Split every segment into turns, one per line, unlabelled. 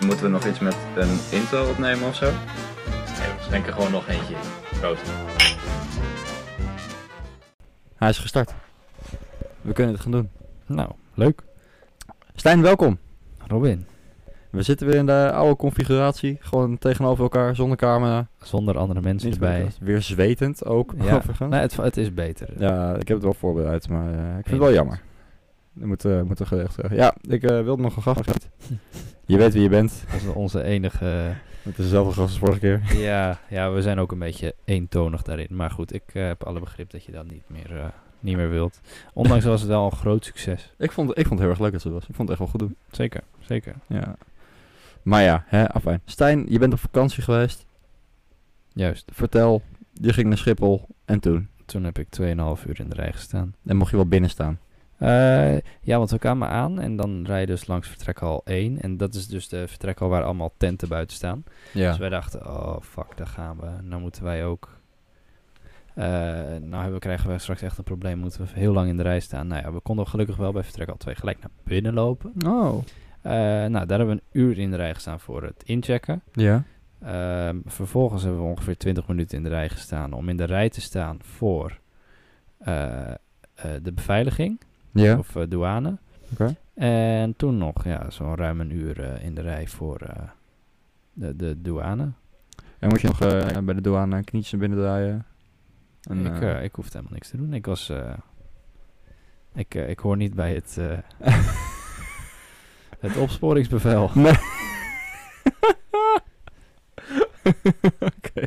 Moeten we nog iets met een intro opnemen of zo?
Nee, we schenken gewoon nog eentje in. Proost.
Hij is gestart. We kunnen het gaan doen.
Nou, leuk.
Stijn, welkom.
Robin,
We zitten weer in de oude configuratie. Gewoon tegenover elkaar, zonder camera.
zonder andere mensen
Niet
erbij.
podcast. Weer zwetend ook,
Ja,
overigens.
nee, het, het is beter.
Ja, ik heb het wel voorbereid, maar eh, ik vind het wel
Eens.
jammer. eh, We moeten, moeten gezegd zeggen. Ja, ik eh, wilde nog een gast. Je weet wie je bent.
Dat is onze enige... eh,
Het is dezelfde gast als vorige keer.
ja, ja, we zijn ook een beetje eentonig daarin. Maar goed, ik eh, heb alle begrip dat je dat niet meer, eh, niet meer wilt. Ondanks was het wel een groot succes.
Ik vond, ik vond het heel erg leuk dat ze er was. Ik vond het echt wel goed doen.
Zeker, zeker.
Ja. Maar ja, hè, afijn. Stijn, je bent op vakantie geweest.
Juist.
Vertel, je ging naar Schiphol en toen.
Toen heb ik 2,5 uur in de rij gestaan.
En mocht je wel binnen staan.
Eh, ja, want we kwamen aan en dan rij je dus langs vertrekhal 1. En dat is dus de vertrekhal waar allemaal tenten buiten staan. Dus
Ja.
wij dachten, oh fuck, daar gaan we. Nou moeten wij ook. eh, nou hebben, krijgen we straks echt een probleem. Moeten we heel lang in de rij staan. Nou ja, we konden gelukkig wel bij vertrek al twee gelijk naar binnen lopen.
Oh.
Eh, nou, daar hebben we een uur in de rij gestaan voor het inchecken.
Ja.
Ehm, vervolgens hebben we ongeveer 20 minuten in de rij gestaan om in de rij te staan voor eh, eh, de beveiliging
Ja.
of eh, douane.
Oké.
En toen nog ja, zo'n ruim een uur eh, in de rij voor eh, de, de douane.
En moet je nog eh, bij de douane knietjes naar binnen draaien? En,
ik,
eh,
eh, ik hoefde helemaal niks te doen. Ik was. eh, ik, eh, ik hoor niet bij het. eh, het opsporingsbevel.
Nee. Oké.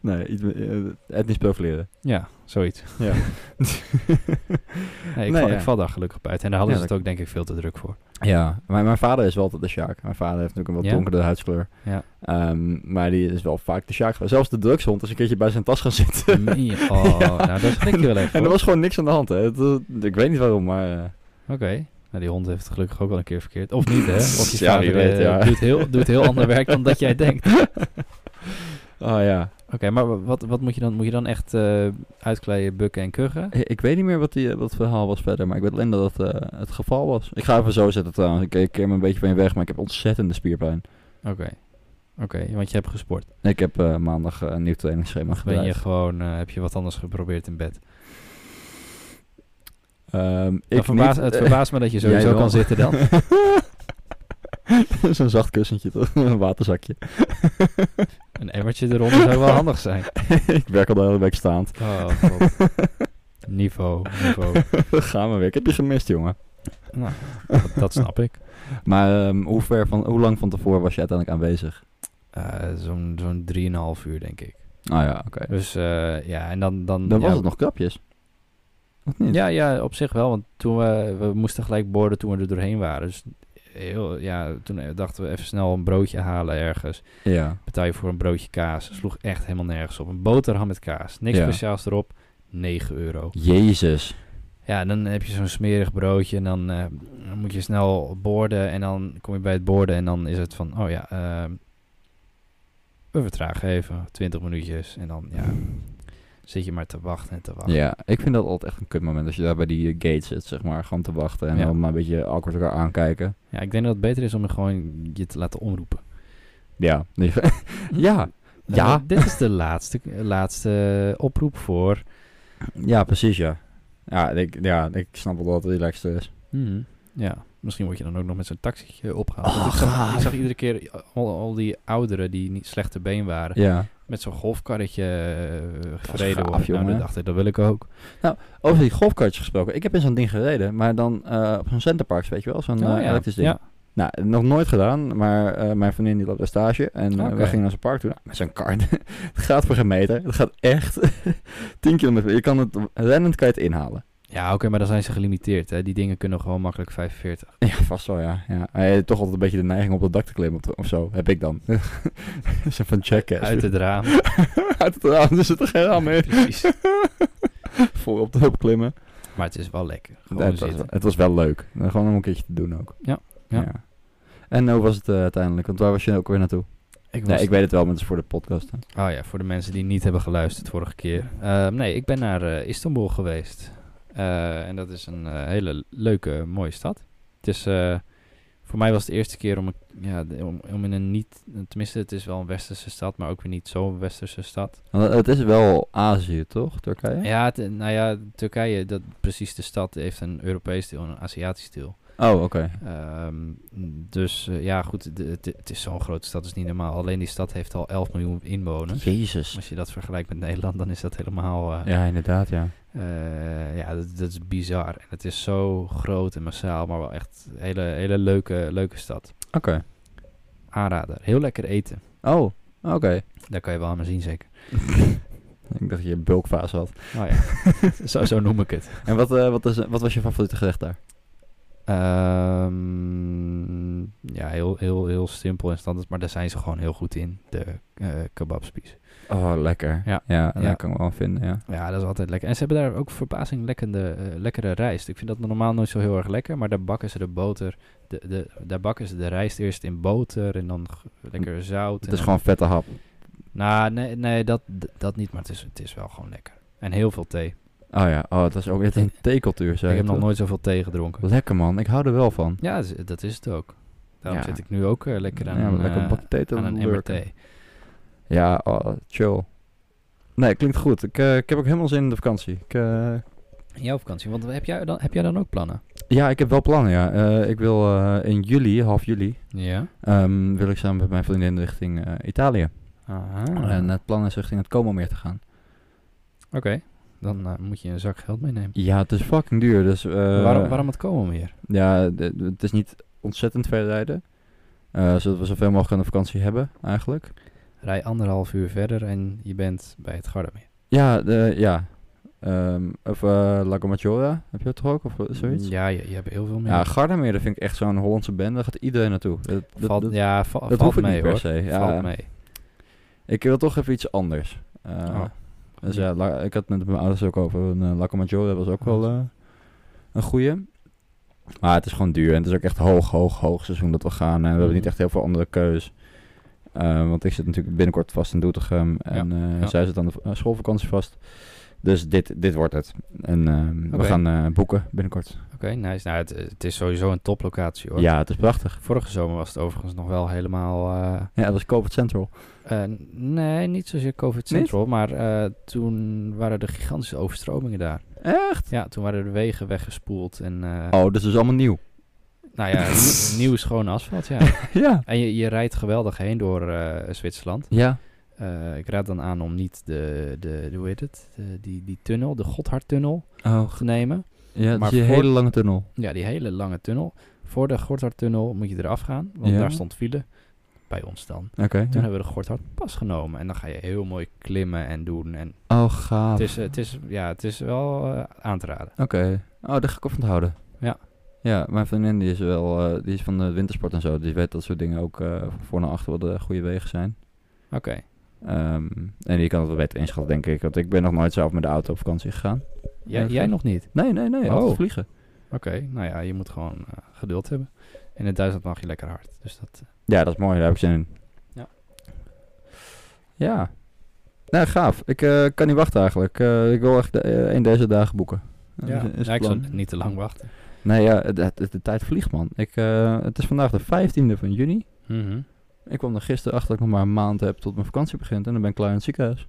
nee, iets, met, eh, etnisch profileren.
Ja, zoiets.
Ja.
Nee, ik,
Nee,
val,
ja.
ik val daar gelukkig buiten. En daar hadden
Ja,
ze het ook, denk ik, veel te druk voor.
ja, maar mijn vader is wel altijd de Sjaak. Mijn vader heeft natuurlijk een wat
Ja?
donkerdere huidskleur.
Ja.
Ehm, maar die is wel vaak de Sjaak. geweest. Zelfs de drugshond is een keertje bij zijn tas gaan zitten.
Nee, oh,
Ja.
nou, daar schrik je wel even.
en er
hoor.
was gewoon niks aan de hand. Hè. Het, eh, ik weet niet waarom, maar... eh,
Oké. Nou, die hond heeft het gelukkig ook wel een keer verkeerd. Of niet, hè? Of je
Ja,
vader
wie weet,
eh,
ja.
doet, heel, doet heel ander werk dan dat jij denkt.
oh ja.
Oké, maar wa- wat, wat moet je dan? Moet je dan echt eh, uitkleien, bukken en kuggen?
Ik- Ik weet niet meer wat, die, eh, wat het verhaal was verder, maar ik weet alleen dat dat eh, het geval was. Ik ga even zo zetten trouwens. Ik, ik keer me een beetje van je weg, maar ik heb ontzettende spierpijn.
Oké. Oké, want je hebt gesport.
Ik heb eh, maandag eh, een nieuw trainingsschema
Ben je
gedraaid.
gewoon, eh, heb je wat anders geprobeerd in bed?
Ehm,
Dan
ik
verbaas-
niet.
het verbaast me dat je
Jij
sowieso
wel.
kan zitten dan.
Zo'n zacht kussentje, toch? een waterzakje.
Een emmertje eronder zou wel handig zijn.
ik werk al de hele week staand.
Oh, god. niveau, niveau.
Gaan we weer. Ik heb je gemist, jongen.
Nou, dat, dat snap ik.
Maar ehm, hoe, ver van, hoe lang van tevoren was je uiteindelijk aanwezig?
Eh, Zo'n zo'n 3,5 uur, denk ik.
Nou ja, oké.
Dus eh, ja, en dan... Dan,
Dan
ja,
was het nog krapjes. Wat niet?
Ja, ja, op zich wel. Want toen we, we moesten gelijk borden toen we er doorheen waren. Dus heel, ja, toen eh, dachten we even snel een broodje halen ergens.
Ja.
Betaal je voor een broodje kaas. Sloeg echt helemaal nergens op. Een boterham met kaas. Niks
Ja.
speciaals erop. 9 euro.
Jezus.
Ja, dan heb je zo'n smerig broodje en dan eh, dan moet je snel borden en dan kom je bij het borden en dan is het van, oh ja, ehm, we vertragen even, 20 minuutjes en dan ja, zit je maar te wachten en te wachten.
Ja, ik vind dat altijd echt een kut moment als je daar bij die eh, gate zit, zeg maar, gewoon te wachten en
Ja.
dan maar een beetje awkward elkaar aankijken.
Ja, ik denk dat het beter is om je gewoon je te laten omroepen.
Ja. Nee, ja. Ja.
Eh, dit is de laatste, laatste oproep voor.
Ja, precies, ja. Ja, ik, ja, ik snap wel dat het relaxed is.
Mhm, ja, misschien word je dan ook nog met zo'n taxietje opgehaald.
Oh,
Want ik, zag,
gaaf.
ik zag iedere keer al, al die ouderen die niet slechte been waren.
Ja.
met zo'n golfkarretje eh, gereden
gaaf,
worden. Nou,
jongen. Oh,
dat dacht ik, dat wil ik ook.
Over die golfkartjes gesproken. Ik heb in zo'n ding gereden, maar dan eh, op zo'n centerparks, weet je wel, zo'n eh, elektrisch ding.
Ja.
Nou, nog nooit gedaan, maar eh, mijn vriendin die loopt daar stage en eh,
Oké.
we gingen naar zijn park toe. Nou, met zo'n kar. het gaat voor geen meter. Het gaat echt 10 kilometer. Je kan het, rennend kan je het inhalen.
Ja, oké, maar dan zijn ze gelimiteerd. Hè. Die dingen kunnen gewoon makkelijk 45.
Ja, vast wel, ja. ja. Maar je hebt toch altijd een beetje de neiging om op dat dak te klimmen op de- of zo, heb ik dan. Zo van checken.
Uit het raam.
Uit het raam, er zit er geen raam meer.
Precies.
Voor op de hulp klimmen.
Maar het is wel lekker. Gewoon
Nee, het, was,
zitten.
het was wel leuk. Eh, Gewoon om een keertje te doen ook.
Ja, ja.
En hoe was het eh, uiteindelijk? Want waar was je ook weer naartoe?
Ik was...
Nee, ik weet het wel, maar het is voor de podcast. hè.
Oh ja, voor de mensen die niet hebben geluisterd vorige keer. Ehm, nee, ik ben naar eh, Istanbul geweest. Eh, en dat is een eh, hele leuke, mooie stad. Het is eh, Voor mij was het de eerste keer om, een- ja, de- om, om in een niet... Tenminste, het is wel een westerse stad, maar ook weer niet zo'n westerse stad.
Want het is wel Azië, toch? Turkije?
Ja, het- nou ja, Turkije, dat, precies de stad, heeft een Europees deel en een Aziatisch deel.
Oh, oké.
Ehm, dus eh, ja, goed, de- het- het is zo'n grote stad, dat is niet normaal. Alleen die stad heeft al 11 miljoen inwoners.
Jezus.
Als je dat vergelijkt met Nederland, dan is dat helemaal... eh,
Ja, inderdaad, ja.
eh, ja, dat, dat is bizar. En het is zo groot en massaal, maar wel echt een hele, hele leuke, leuke stad.
Oké.
Aanrader. Heel lekker eten.
Oh, oké.
Daar kan je wel aan me zien, zeker.
Ik dacht dat je een bulkfase had.
Oh ja, zo, zo noem ik het.
En wat, eh, wat, is, wat was je favoriete gerecht daar?
Ehm, ja, heel, heel, heel simpel en standaard, maar daar zijn ze gewoon heel goed in. De eh kebabspies.
Oh, lekker.
Ja.
Ja, dat
Ja.
kan ik wel vinden, ja.
Ja, dat is altijd lekker. En ze hebben daar ook verbazing lekkende, eh, lekkere rijst. Ik vind dat normaal nooit zo heel erg lekker, maar daar bakken ze de boter. De, de, daar bakken ze de rijst eerst in boter en dan g- lekker zout.
Het
en
is
dan-
gewoon vette hap.
Nou, nee, nee dat, d- dat niet, maar het is, het is wel gewoon lekker. En heel veel thee.
Oh ja, oh, dat is ook echt een theecultuur, zei
ik heb
je,
nog
toch?
nooit zoveel thee gedronken.
Lekker, man. Ik hou er wel van.
Ja, dat is- dat is het ook. Daarom
Ja.
zit ik nu ook eh, lekker aan,
ja,
een,
maar lekker
eh,
een bakje thee te
aan een emmer
lurken.
thee.
Ja, oh, chill. Nee, klinkt goed. Ik, eh, ik heb ook helemaal zin in de vakantie. Ik, eh,
In jouw vakantie, want heb jij dan, heb jij dan ook plannen?
ja, ik heb wel plannen, ja. Eh, ik wil eh, in juli, half juli,
Ja.
ehm, wil ik samen met mijn vriendin richting eh, Italië.
Aha.
En het plan is richting het Como meer te gaan.
Oké, dan eh, moet je een zak geld meenemen.
Ja, het is fucking duur, dus... eh,
waarom, waarom het komen weer?
Ja, d- d- het is niet ontzettend ver rijden. Eh, zodat we zoveel mogelijk aan de vakantie hebben, eigenlijk.
Rij anderhalf uur verder en je bent bij het Gardameer.
Ja, de, ja. Ehm, of eh La Gommaggiola, heb je dat toch ook, of eh, zoiets?
Mm, Ja, je, je hebt heel veel meer.
Ja, Gardameer, dat vind ik echt zo'n Hollandse bende. Daar gaat iedereen naartoe. Dat, dat,
valt,
dat,
ja, va-
dat
valt
hoef ik
mee
niet per
hoor.
se. Ja,
Valt mee.
ik wil toch even iets anders. Eh,
Oh.
Dus ja, la- ik had het net met mijn ouders ook over. Een uh, dat was ook wel eh, een goeie. Maar het is gewoon duur. En het is ook echt hoog, hoog, hoog seizoen dat we gaan. En we hebben niet echt heel veel andere keus. Eh, want ik zit natuurlijk binnenkort vast in Doetinchem. En eh,
ja.
zij zit aan de v- eh, schoolvakantie vast. Dus dit, dit wordt het. En ehm,
Oké.
we gaan eh, boeken binnenkort.
Oké, nice. Nou, het, het is sowieso een toplocatie hoor.
Ja, het is prachtig.
Vorige zomer was het overigens nog wel helemaal... eh,
Ja, dat is Covid Central.
eh, nee, niet zozeer COVID Central, maar eh, toen waren er gigantische overstromingen daar. Echt? Ja, toen waren de wegen weggespoeld en... eh,
Oh, dus is allemaal nieuw.
Nou ja, nieuw- nieuw schoon asfalt, ja.
ja.
en je, je rijdt geweldig heen door eh, Zwitserland.
Ja.
Eh, ik raad dan aan om niet de, de, de hoe heet het, De- die, die tunnel, de Godhardtunnel,
Oh,
te nemen.
ja,
Maar
maar is een
voor-
hele lange tunnel.
Ja, die hele lange tunnel. Voor de Godhardtunnel moet je eraf gaan, want
Ja.
daar stond file. Bij ons dan.
Oké.
Toen hebben we de Godhardpas genomen en dan ga je heel mooi klimmen en doen. En
Oh, gaaf.
het, is, het, is, ja, het is wel eh, aan te raden.
Oké. Oh, daar ga ik op onthouden.
Ja.
Ja, mijn vriendin die is wel, eh, die is van de wintersport en zo. dus Die weet dat soort dingen ook eh, van voor naar achter wat de goede wegen zijn.
Oké,
Ehm, en die kan het wel beter inschatten, denk ik. Want ik ben nog nooit zelf met de auto op vakantie gegaan.
jij,
Erg,
jij
hè?
nog niet?
Nee, nee, nee.
Oh.
Altijd vliegen.
Oké, nou ja, je moet gewoon eh, geduld hebben. En in Duitsland mag je lekker hard. Dus dat,
Ja, dat is mooi. Daar heb ik zin in.
Ja.
Ja. Nou, gaaf. Ik eh, kan niet wachten eigenlijk. Eh, ik wil echt de- eh, een deze dagen boeken. Eh, is-
ja,
is
ja,
het
ik zou
plan.
niet te lang wachten.
Nee, ja, het- het- de, tijd vliegt, man. Ik, eh, het is vandaag de 15e van juni.
Mhm.
Ik kwam er gisteren achter dat ik nog maar een maand heb tot mijn vakantie begint. En dan ben ik klaar in het ziekenhuis.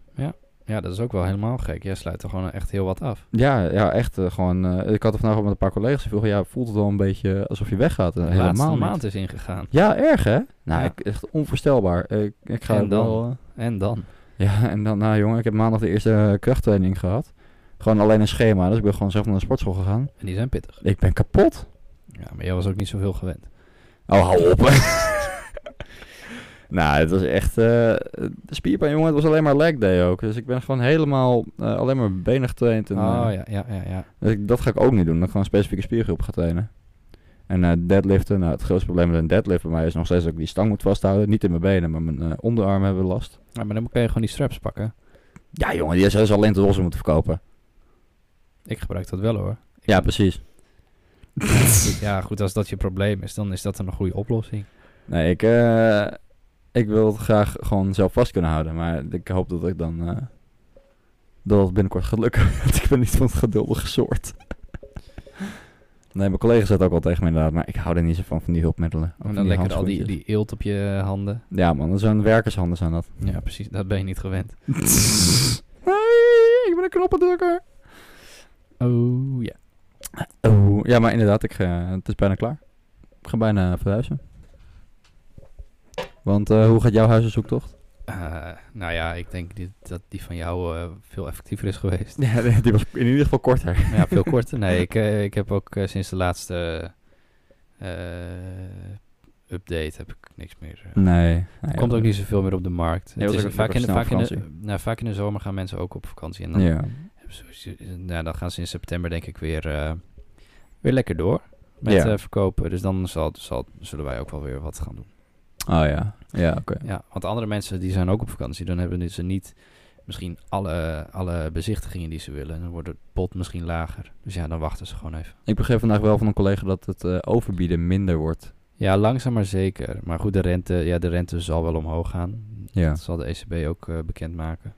Ja, dat is ook wel helemaal gek. Jij sluit er gewoon echt heel wat af.
Ja, ja echt eh, gewoon. eh, ik had er vandaag ook met een paar collega's die vroegen, ja, voelt het wel een beetje alsof je weggaat? Eh,
De
helemaal
laatste
niet.
maand is ingegaan.
Ja, erg hè? Nou,
Ja.
ik, echt onvoorstelbaar. Ik, ik ga
En dan?
wel... eh,
En dan?
ja, en dan, nou jongen, ik heb maandag de eerste eh, krachttraining gehad. Gewoon alleen een schema, dus ik ben gewoon zelf naar de sportschool gegaan.
En die zijn pittig.
Ik ben kapot.
Ja, maar jij was ook niet zoveel gewend.
Oh, hou op. nou, het was echt... eh de spierpijn, jongen, het was alleen maar leg day ook. Dus ik ben gewoon helemaal eh, alleen maar mijn benen getraind. En, eh,
oh ja, ja, ja, ja.
Dus ik- dat ga ik ook niet doen. Dan gewoon specifieke spiergroep gaan trainen. En eh, deadliften. Nou, het grootste probleem met een deadlift bij mij is nog steeds dat ik die stang moet vasthouden. Niet in mijn benen, maar mijn eh onderarmen hebben last.
Ja, maar dan kan je gewoon die straps pakken.
Ja, jongen, die zou ze alleen te losse moeten verkopen.
Ik gebruik dat wel hoor.
Ja, precies.
Ja, goed, als dat je probleem is, dan is dat een goede oplossing.
Nee, ik, eh, ik wil het graag gewoon zelf vast kunnen houden. Maar ik hoop dat ik dan. eh, dat het binnenkort gaat lukken. Want ik ben niet van het geduldige soort. Nee, mijn collega zegt ook wel tegen me inderdaad, maar ik hou er niet zo van, van die hulpmiddelen. Of
En
van
dan lekker al die,
handschoentjes.
die eelt op je handen.
Ja man, dat zijn werkershanden zijn dat.
Ja, precies. Dat ben je niet gewend.
Nee, ik ben een knoppendrukker.
Oh ja.
Oh, ja, maar inderdaad, ik, ga- het is bijna klaar. Ik ga bijna verhuizen. Want eh, hoe gaat jouw huizenzoektocht?
Eh, nou ja, ik denk die- dat die van jou eh, veel effectiever is geweest.
Ja, die was in ieder geval korter.
Maar ja, veel korter. Nee, ik, eh, ik heb ook eh, sinds de laatste eh, update heb ik niks meer. eh.
Nee. nee
Er komt ook
dat-
niet zoveel meer op de markt.
Nee,
Het
was
is
ook-
vaak,
ook
in, de-
snel
vaak, in de,
vakantie.
nou, vaak in de zomer gaan mensen ook op vakantie. En dan,
Ja.
hebben ze- ze- ze- nou, dan gaan ze in september denk ik weer, eh, weer lekker door met
Ja.
eh, verkopen. Dus dan zal, zal, zullen wij ook wel weer wat gaan doen.
Oh ja. Ja, oké.
Ja, want andere mensen die zijn ook op vakantie. Dan hebben ze niet misschien alle, alle bezichtigingen die ze willen. En dan wordt het pot misschien lager. Dus ja, dan wachten ze gewoon even.
Ik begreep vandaag wel van een collega dat het eh, overbieden minder wordt.
Ja, langzaam maar zeker. Maar goed, de rente, ja, de rente zal wel omhoog gaan.
Ja.
Dat zal de ECB ook eh, bekendmaken.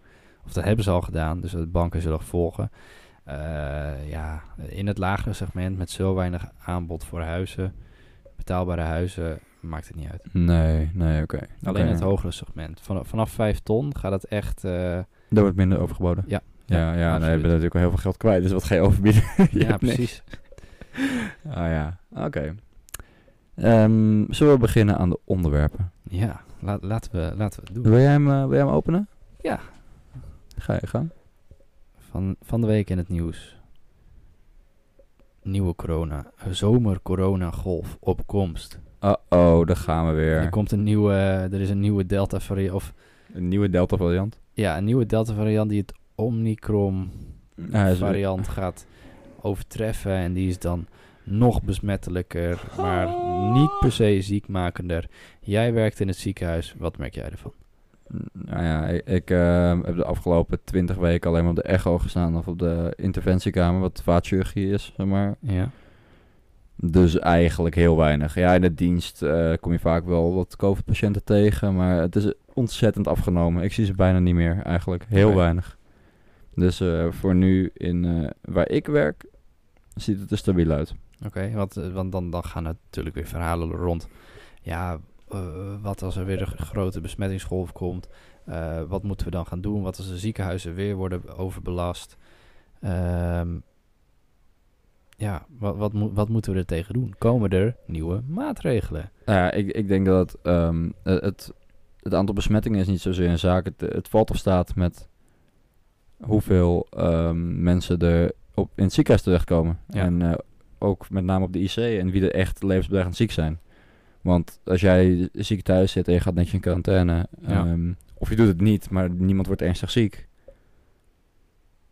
Of dat hebben ze al gedaan, dus de banken zullen volgen. Eh, ja, in het lagere segment met zo weinig aanbod voor huizen, betaalbare huizen, maakt het niet uit.
Nee, nee, oké.
Alleen
Oké.
het hogere segment. Vanaf, vanaf 5 ton gaat het echt... eh,
Daar wordt minder overgeboden.
Ja.
Ja, ja, nee, we
absoluut.
hebben natuurlijk wel heel veel geld kwijt, dus wat ga je overbieden? Je
ja,
hebt niks.
precies.
Ah ja, oké. Ehm, zullen we beginnen aan de onderwerpen?
Ja, la- laten, we, laten we het doen.
Wil jij hem, eh, wil jij hem openen?
Ja.
Ga je gaan?
Van, van de week in het nieuws. Nieuwe corona. Zomer corona golf op komst.
Uh-oh, daar gaan we
Er
weer.
komt een nieuwe, er is een nieuwe Delta variant. Of
Een nieuwe Delta variant.
ja, een nieuwe Delta variant die het Omicron
hij is-
variant gaat overtreffen. En die is dan nog besmettelijker, maar niet per se ziekmakender. Jij werkt in het ziekenhuis. Wat merk jij ervan?
Nou ja, ik, ik, ehm, heb de afgelopen twintig weken alleen maar op de echo gestaan of op de interventiekamer, wat vaatchirurgie is, zeg maar.
Ja.
Dus eigenlijk heel weinig. Ja, in de dienst eh, kom je vaak wel wat COVID-patiënten tegen, maar het is ontzettend afgenomen. Ik zie ze bijna niet meer eigenlijk. Heel
Nee.
weinig. Dus eh, voor nu in, eh, waar ik werk, ziet het er stabiel uit.
Oké, want, eh, want dan, dan gaan natuurlijk weer verhalen rond. Ja, eh, wat als er weer een g- grote besmettingsgolf komt? Eh, wat moeten we dan gaan doen? Wat als de ziekenhuizen weer worden overbelast? Ehm, ja, wat, wat, moet- wat moeten we er tegen doen? Komen er nieuwe maatregelen?
Nou ja, ik, ik denk dat ehm, eh, het, het aantal besmettingen is niet zozeer een zaak. Het, het valt of staat met hoeveel ehm, mensen er op, in het ziekenhuis terechtkomen.
Ja.
En eh, ook met name op de IC en wie er echt levensbedreigend ziek zijn. Want als jij ziek thuis zit en je gaat netjes in quarantaine...
Ja.
ehm, of je doet het niet, maar niemand wordt ernstig ziek...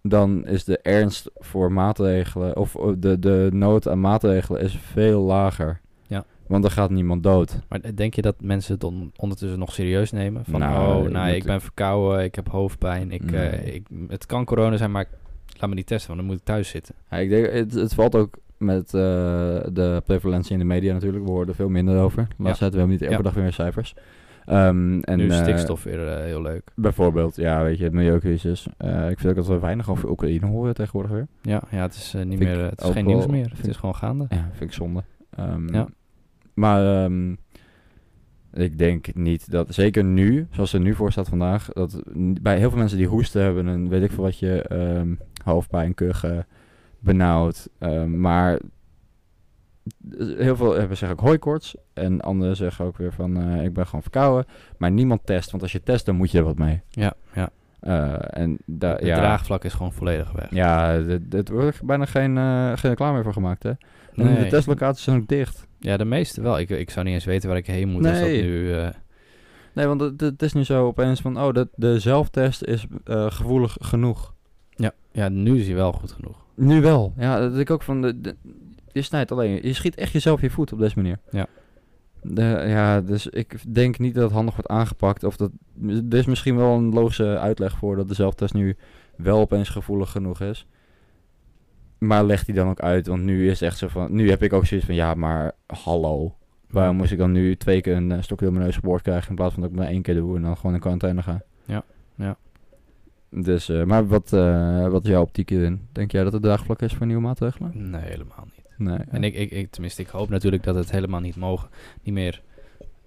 dan is de ernst voor maatregelen... of eh, de, de nood aan maatregelen is veel lager.
Ja.
Want er gaat niemand dood.
Maar eh, denk je dat mensen het on- ondertussen nog serieus nemen? Van,
Nou,
oh,
ik
nou, ik
moet-
ben verkouden, ik heb hoofdpijn. Ik, eh,
Nee.
ik, het kan corona zijn, maar ik, laat me niet testen, want dan moet ik thuis zitten.
Ja, ik denk, het, het valt ook met eh, de prevalentie in de media natuurlijk. We horen er veel minder over. Laatst tijd, we hebben niet elke
Ja.
dag weer meer cijfers. Ehm, en,
nu is
eh,
stikstof weer eh, heel leuk.
bijvoorbeeld, ja, weet je, het milieucrisis. Eh, ik vind ook dat we weinig over Oekraïne horen tegenwoordig weer.
Ja, ja het is eh, niet
Vind
meer,
ik
eh, het is
ook
geen nieuws
wel-
meer. Het
vind
is gewoon gaande.
Ja, vind ik zonde. Ehm,
Ja.
Maar ehm, ik denk niet dat, zeker nu, zoals er nu voor staat vandaag, dat n- bij heel veel mensen die hoesten hebben, een weet ik veel wat je, ehm, hoofdpijn, kuchen, benauwd. ehm, maar heel veel hebben zeggen ook hooikoorts en anderen zeggen ook weer van eh, ik ben gewoon verkouden. Maar niemand test, want als je test dan moet je er wat mee.
Ja, ja.
Eh, en da-
Het
ja,
draagvlak is gewoon volledig weg.
ja, dit- dit wordt bijna geen, eh, geen reclame meer voor gemaakt hè. En
Nee.
de testlocaties zijn ook dicht.
Ja, de meeste wel. Ik, ik zou niet eens weten waar ik heen moet. als dat
Nee.
nu, eh,
Nee, want het, het is nu zo opeens van, oh, dat, de zelftest is eh, gevoelig genoeg.
ja, ja, nu is hij wel goed genoeg.
Nu wel. Ja, dat ik ook van, de, de- je snijdt alleen, je schiet echt jezelf in je voet op deze manier.
Ja.
De, ja, dus ik denk niet dat het handig wordt aangepakt. Of dat, er is misschien wel een logische uitleg voor dat de zelftest nu wel opeens gevoelig genoeg is. Maar leg die dan ook uit, want nu is het echt zo van, nu heb ik ook zoiets van, ja, maar hallo. Waarom moest ik dan nu twee keer een eh, stokje door mijn neus geboord krijgen in plaats van dat ik maar één keer doe en dan gewoon in quarantaine ga?
Ja, ja.
Dus, eh, maar wat, eh, wat is jouw optiek hierin? Denk jij dat het draagvlak is voor nieuwe maatregelen?
Nee, helemaal niet.
Nee,
En ik, ik, ik, tenminste, ik hoop natuurlijk dat het helemaal niet, mogen, niet meer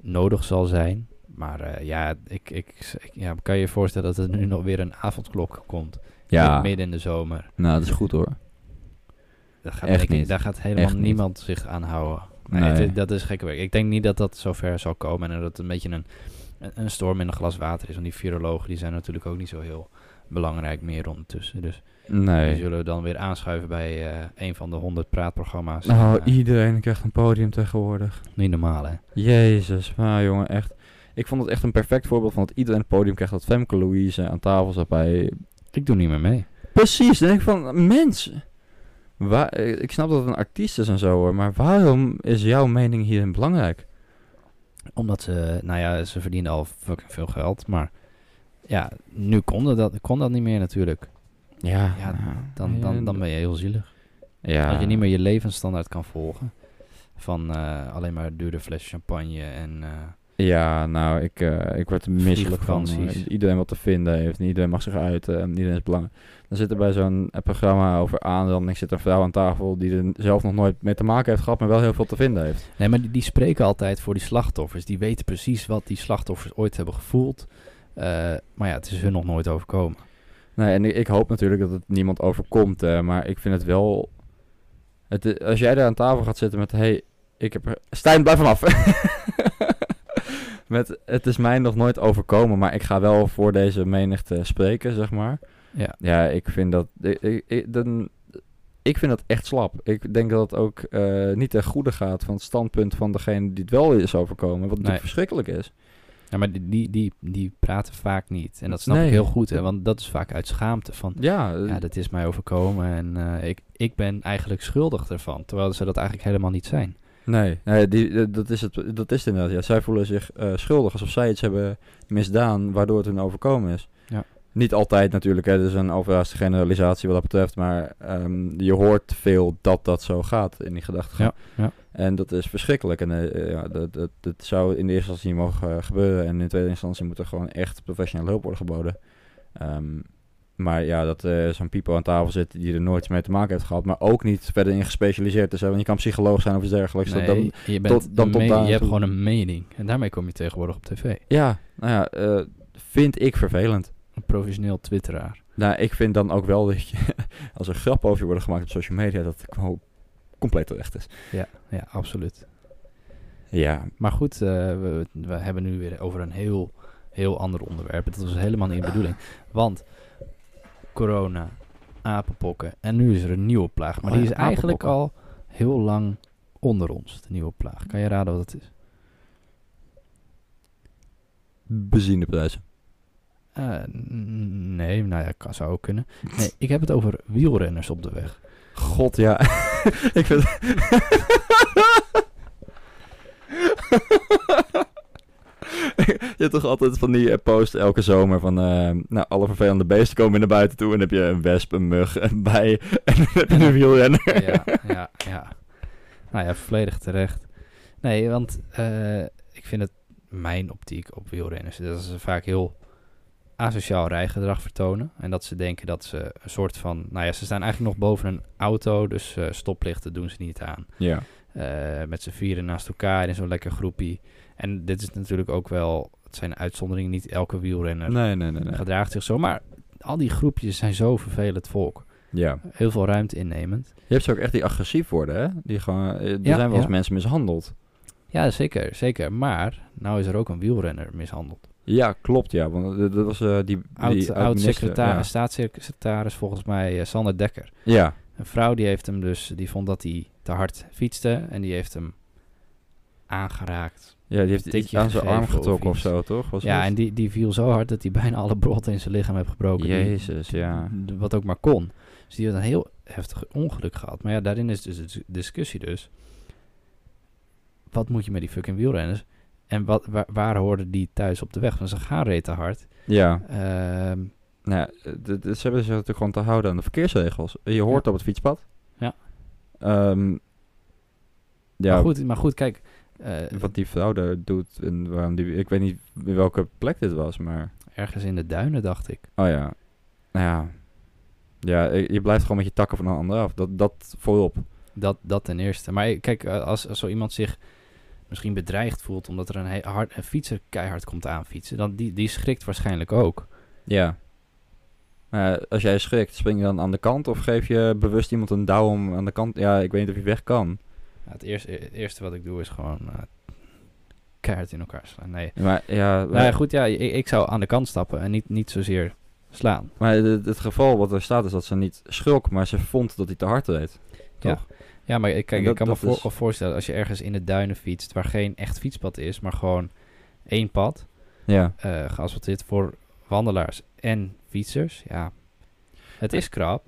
nodig zal zijn. Maar eh, ja, ik, ik, ik- ja, kan je je voorstellen dat er nu nog weer een avondklok komt?
ja,
Midden in de zomer.
nou, dat is goed hoor.
Daar gaat,
Echt
denk ik-
niet.
daar gaat helemaal
Echt niet.
niemand zich aan houden. Nee, het-
Nee.
dat is gekke werk. Ik denk niet dat dat zover zal komen en dat het een beetje een, een, een storm in een glas water is. Want die virologen die zijn natuurlijk ook niet zo heel belangrijk meer ondertussen. Dus die
Nee.
zullen dan weer aanschuiven bij eh een van de honderd praatprogramma's.
Nou,
Eh,
iedereen krijgt een podium tegenwoordig.
niet normaal hè.
Jezus, maar jongen, echt. Ik vond het echt een perfect voorbeeld van dat iedereen het podium krijgt dat Femke Louise aan tafel zat bij...
Ik doe niet meer mee.
Precies, dan denk ik van, mensen. Waar, eh, ik snap dat het een artiest is en zo hoor, maar waarom is jouw mening hierin belangrijk?
Omdat ze, nou ja, ze verdienen al fucking veel geld. Maar ja, nu kon dat, kon dat niet meer natuurlijk.
Ja,
Ja, Dan, dan, dan ben je heel zielig.
Ja.
Als je niet meer je levensstandaard kan volgen. Van eh, alleen maar dure fles champagne en... eh,
Ja, nou, ik, eh, ik word er misselijk van.
Vliegvakanties.
eh, iedereen wat te vinden heeft. en Iedereen mag zich uiten. en Iedereen is belangrijk. Dan zit er bij zo'n eh, programma over aanranding zit een vrouw aan tafel die er zelf nog nooit mee te maken heeft gehad, maar wel heel veel te vinden heeft.
Nee, maar die, die spreken altijd voor die slachtoffers. Die weten precies wat die slachtoffers ooit hebben gevoeld. Eh, maar ja, het is hun nog nooit overkomen.
Nee, en ik, ik hoop natuurlijk dat het niemand overkomt. eh, maar ik vind het wel... Het, i- als jij daar aan tafel gaat zitten met... hey, ik heb... er- Stijn, blijf vanaf! met, het is mij nog nooit overkomen, maar ik ga wel voor deze menigte spreken, zeg maar.
Ja.
Ja, ik vind dat... Ik, ik, ik- dan, ik vind dat echt slap. Ik denk dat het ook eh, niet ten goede gaat van het standpunt van degene die het wel is overkomen. Wat natuurlijk
Nee.
verschrikkelijk is.
Ja, maar die, die, die, die praten vaak niet. En dat snap
Nee.
ik heel goed, hè, want dat is vaak uit schaamte. Van,
Ja,
ja, dat is mij overkomen en eh, ik, ik ben eigenlijk schuldig ervan. Terwijl ze dat eigenlijk helemaal niet zijn.
Nee, nee die, eh, dat, is het, dat is het inderdaad. Ja. Zij voelen zich eh, schuldig alsof zij iets hebben misdaan waardoor het hun overkomen is.
Ja.
Niet altijd natuurlijk, hè. dat is een overhaaste generalisatie wat dat betreft. Maar ehm, je hoort veel dat dat zo gaat in die gedachten.
Ja, ja.
En dat is verschrikkelijk. En eh, ja, dat, dat, dat zou in de eerste instantie niet mogen eh, gebeuren. En in de tweede instantie moet er gewoon echt professionele hulp worden geboden. Ehm, maar ja, dat eh, zo'n people aan tafel zit die er nooit mee te maken heeft gehad. Maar ook niet verder in gespecialiseerd is. hè, Want je kan psycholoog zijn of iets dergelijks. dat-
Nee,
dan-
je, bent
tot- dan
een
tot
me-
daar
je hebt
toe.
gewoon een mening. En daarmee kom je tegenwoordig op tv.
Ja, nou ja, eh, vind ik vervelend.
Een professioneel twitteraar.
Nou, ik vind dan ook wel dat je, als er grappen over je worden gemaakt op social media, dat het gewoon compleet terecht is.
Ja, absoluut.
Ja,
Maar goed, eh, we, we hebben nu weer over een heel, heel ander onderwerp. Dat was helemaal niet de bedoeling. Want corona, apenpokken en nu is er een nieuwe plaag. Maar
Oh
die
ja,
is eigenlijk al
apenpokken.
heel lang onder ons, de nieuwe plaag. Kan je raden wat het is?
benzineprijzen.
Eh, n- nee, nou ja, kan, zou ook kunnen. Nee, ik heb het over wielrenners op de weg.
God, ja. ik vind... je hebt toch altijd van die eh, post elke zomer van... eh, nou, alle vervelende beesten komen weer naar buiten toe. En dan heb je een wesp, een mug, een bij en dan heb je een wielrenner.
ja, ja, ja. Nou ja, volledig terecht. Nee, want eh, ik vind het mijn optiek op wielrenners dat ze vaak heel asociaal rijgedrag vertonen. En dat ze denken dat ze een soort van. Nou ja, ze staan eigenlijk nog boven een auto, dus eh, stoplichten doen ze niet aan.
Ja.
Eh, met z'n vieren naast elkaar in zo'n lekker groepie. En dit is natuurlijk ook wel. Het zijn uitzonderingen, niet elke wielrenner
Nee, nee, nee. nee.
gedraagt zich zo. Maar al die groepjes zijn zo vervelend volk.
Ja.
Heel veel ruimte innemend.
Je hebt ze ook echt die agressief worden, hè? Die gewoon, eh, er
Ja,
zijn wel eens
ja.
mensen mishandeld.
Ja, zeker, zeker. Maar nou is er ook een wielrenner mishandeld.
Ja, klopt, ja. Want dat dat was eh, die, die
Oud, oud
minister,
secretaris, staatssecretaris volgens mij eh, Sander Dekker.
Ja. ja.
Een vrouw die heeft hem dus, die vond dat hij te hard fietste en die heeft hem aangeraakt.
Ja, die heeft
Een
iets
tikje
aan zijn arm
gegeven of
getrokken of,
iets.
zo, toch? Was
ja,
het?
en die, die viel zo hard dat hij bijna alle brood in zijn lichaam heeft gebroken. die-
Jezus, ja.
d- Wat ook maar kon. Dus die had een heel heftig ongeluk gehad. Maar ja, daarin is dus de dis- discussie dus. Wat moet je met die fucking wielrenners? En wat, waar, waar hoorden die thuis op de weg? Want ze gaan reet te hard.
Ja,
Ehm,
nou ja, d- d- ze hebben zich natuurlijk gewoon te houden aan de verkeersregels. Je hoort op het fietspad.
Ja.
Ehm, ja,
Maar, goed, maar goed, kijk. eh,
wat die vrouw daar doet en waarom die... Ik weet niet welke plek dit was, maar...
ergens in de duinen, dacht ik.
Oh ja. eh, Nou ja. Ja, je je blijft gewoon met je takken van een ander af. Dat, dat voorop.
Dat, dat ten eerste. Maar kijk, eh, als, als zo iemand zich misschien bedreigd voelt omdat er een, he- hard, een fietser keihard komt aanfietsen, dan die, die schrikt waarschijnlijk ook.
Ja. Maar ja, als jij schrikt, spring je dan aan de kant of geef je bewust iemand een douw om aan de kant? Ja, ik weet niet of je weg kan.
Ja, Nou, het, eerste, het eerste wat ik doe is gewoon eh, keihard in elkaar slaan. Nee.
Maar ja,
Nou ja, goed, ja, ik, ik zou aan de kant stappen en niet, niet zozeer slaan.
maar het, het geval wat er staat is dat ze niet schulk, maar ze vond dat hij te hard deed.
Ja.
Toch?
Ja, maar ik, kijk,
En dat-
ik kan me
dat
voor-
is-
al voorstellen als je ergens in de duinen fietst waar geen echt fietspad is, maar gewoon één pad,
Ja.
eh geasfalteerd voor wandelaars en fietsers. Ja, het is krap.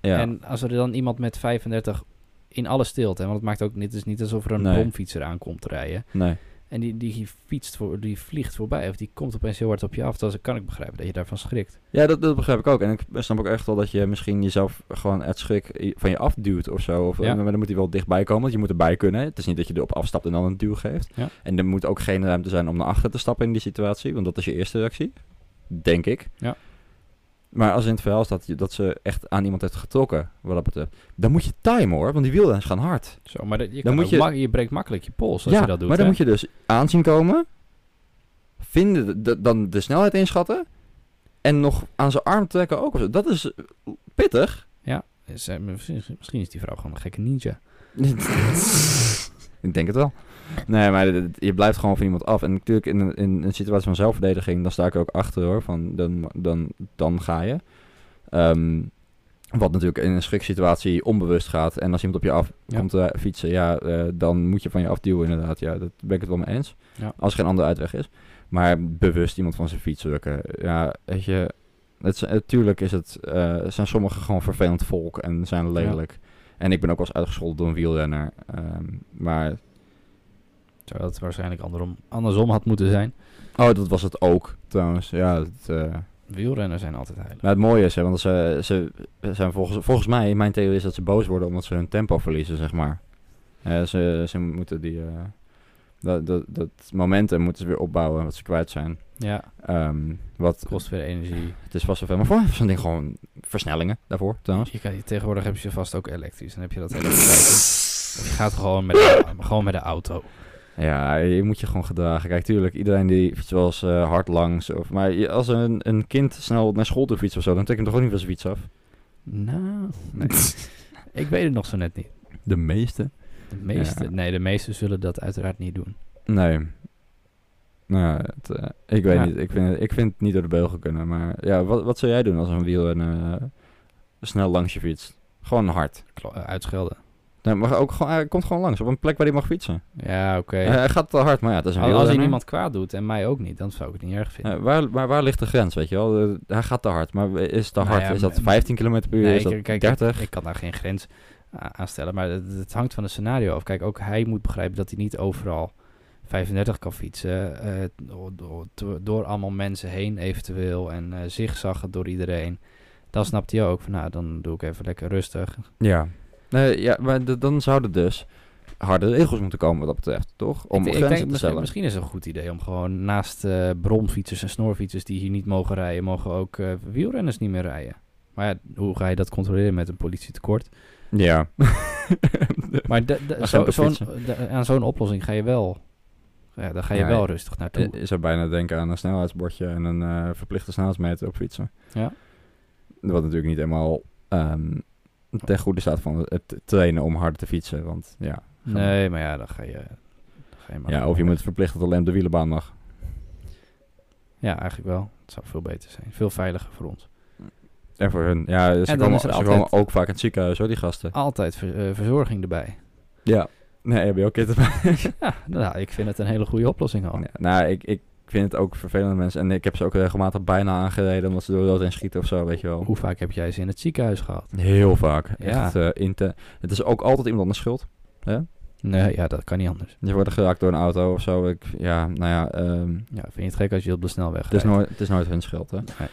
ja.
En als er dan iemand met 35 in alle stilte, want het maakt ook niet, het is niet alsof er een
Nee.
bromfietser aankomt te rijden.
Nee.
En die, die fietst voor, die vliegt voorbij of die komt opeens heel hard op je af. Dan kan ik begrijpen dat je daarvan schrikt.
Ja, dat, dat begrijp ik ook. En ik snap ook echt wel dat je misschien jezelf gewoon uit schrik i- van je afduwt of zo. Of, eh,
Ja.
Maar dan moet hij wel dichtbij komen, want je moet erbij kunnen. Het is niet dat je erop afstapt en dan een duw geeft.
Ja.
En er moet ook geen ruimte zijn om naar achter te stappen in die situatie, want dat is je eerste reactie. Denk ik.
Ja.
Maar als in het verhaal staat je- dat ze echt aan iemand heeft getrokken, wat dat betreft, dan moet je time hoor, want die wielrenners gaan hard.
Zo, maar dat, je,
Dan
kan
moet
ook
je-
ma- je breekt makkelijk je pols als je dat doet.
maar dan
hè?
moet je dus aanzien komen, vinden, de- de- dan de snelheid inschatten en nog aan zijn arm trekken ook. of zo. Dat is eh, pittig.
Is, eh, misschien, misschien is die vrouw gewoon een gekke ninja.
Ik denk het wel. Nee, maar dit- dit- je blijft gewoon van iemand af. En natuurlijk in, een- in een situatie van zelfverdediging, dan sta ik er ook achter hoor. Van dan, dan, dan ga je. Ehm, wat natuurlijk in een schriksituatie onbewust gaat. En als iemand op je af
Ja.
komt eh, fietsen, ja, eh, dan moet je van je afduwen inderdaad. Ja, dat ben ik het wel mee eens.
Ja.
Als er geen andere uitweg is. Maar bewust iemand van zijn fiets rukken. Ja, weet je. Het, is- natuurlijk is het, eh, zijn sommigen gewoon vervelend volk en zijn lelijk. En ik ben ook wel eens uitgescholden door een wielrenner. Ehm, maar
Terwijl het waarschijnlijk andersom, andersom had moeten zijn.
Oh, dat was het ook, trouwens. Ja, dat, eh,
Wielrenners zijn altijd heilig.
Maar het mooie is, hè, want ze, ze zijn volgens, volgens mij, mijn theorie is dat ze boos worden omdat ze hun tempo verliezen, zeg maar. Eh, ze, ze moeten die, eh, dat, dat, dat momentum moeten ze weer opbouwen wat ze kwijt zijn.
Ja,
Ehm, wat,
het kost weer energie.
het is vast zoveel, maar voor zo'n ding gewoon versnellingen daarvoor, trouwens.
Je kan, tegenwoordig heb je ze vast ook elektrisch. Dan heb je dat hele tijd. Je gaat gewoon met, de, gewoon met de auto.
Ja, je moet je gewoon gedragen. Kijk, tuurlijk, iedereen die fietst wel eens eh, hard langs. Of, maar je- als een, een kind snel naar school toe fietst of zo, dan trek je hem toch ook niet van zijn fiets af?
Nou, nee. ik weet het nog zo net niet.
De meeste.
De meeste, Nee, de meesten zullen dat uiteraard niet doen.
Nee. Nou, ja, het, eh, ik weet
Ja.
niet. Ik vind, het, ik vind het niet door de beugel kunnen. Maar ja, wat, wat zou jij doen als een wiel en, eh, snel langs je fietst? Gewoon hard.
Klo- eh, uitschelden.
Nee, maar ook gewoon, hij komt gewoon langs op een plek waar hij mag fietsen.
Ja, oké.
Eh, hij gaat wel hard, maar ja, het is een
Al- als hij
wielrenner.
niemand kwaad doet en mij ook niet, dan zou ik het niet erg vinden.
Eh, waar, maar waar ligt de grens, weet je wel? Eh, hij gaat te hard, maar is te
Nou
hard?
ja,
is dat
m-
15 km per uur?
Nee,
is dat
kijk, kijk,
30?
Ik kan daar geen grens a- aan stellen, maar het, het hangt van het scenario af. Kijk, ook hij moet begrijpen dat hij niet overal 35 kan fietsen. eh, door- door, door- door allemaal mensen heen eventueel en eh zigzaggen door iedereen. Dan snapt hij ook van, nou, dan doe ik even lekker rustig.
Ja. Nee, ja, maar d- dan zouden dus harde regels moeten komen wat dat betreft, toch? Om
Ik- ik,
grenzen
denk,
te
misschien,
stellen.
misschien is het een goed idee om gewoon naast eh bromfietsers en snorfietsers die hier niet mogen rijden, mogen ook eh, wielrenners niet meer rijden. Maar ja, hoe ga je dat controleren met een politietekort?
Ja.
Maar da- da- zo,
Agenten
zo'n-
fietsen.
da- aan zo'n oplossing ga je wel. Ja, daar ga je
Ja, Eh,
wel
ja.
rustig naartoe.
Ik zou bijna denken aan een snelheidsbordje en een eh, verplichte snelheidsmeter op fietsen.
Ja.
Wat natuurlijk niet helemaal ehm, ten goede staat van het trainen om harder te fietsen. Want ja,
nee, maar ja, dan ga je. Dan ga je maar
ja of je moet verplicht dat alleen op de wielenbaan mag.
Ja, eigenlijk wel. Het zou veel beter zijn. Veel veiliger voor ons.
En voor hun. Ja, ze,
dan
komen,
is er
ze
altijd-
komen ook vaak in het ziekenhuis hoor, die gasten.
Altijd ver- eh, verzorging erbij.
Ja. Nee, heb je ook kinder
Ja, nou, ik vind het een hele goede oplossing al.
Ja, nou, ik, ik vind het ook vervelende mensen. En ik heb ze ook regelmatig bijna aangereden omdat ze door rood heen schieten of zo, weet je wel.
Hoe vaak heb jij ze in het ziekenhuis gehad?
Heel vaak.
Ja.
Echt eh, inten- Het is ook altijd iemand anders schuld.
Nee, ja, dat kan niet anders.
Je wordt geraakt door een auto of zo. Ik, ja, nou ja, ehm,
Ja, vind je het gek als je op de snelweg
het, is
rijdt?
nooit, het is nooit hun schuld, hè?
Nee.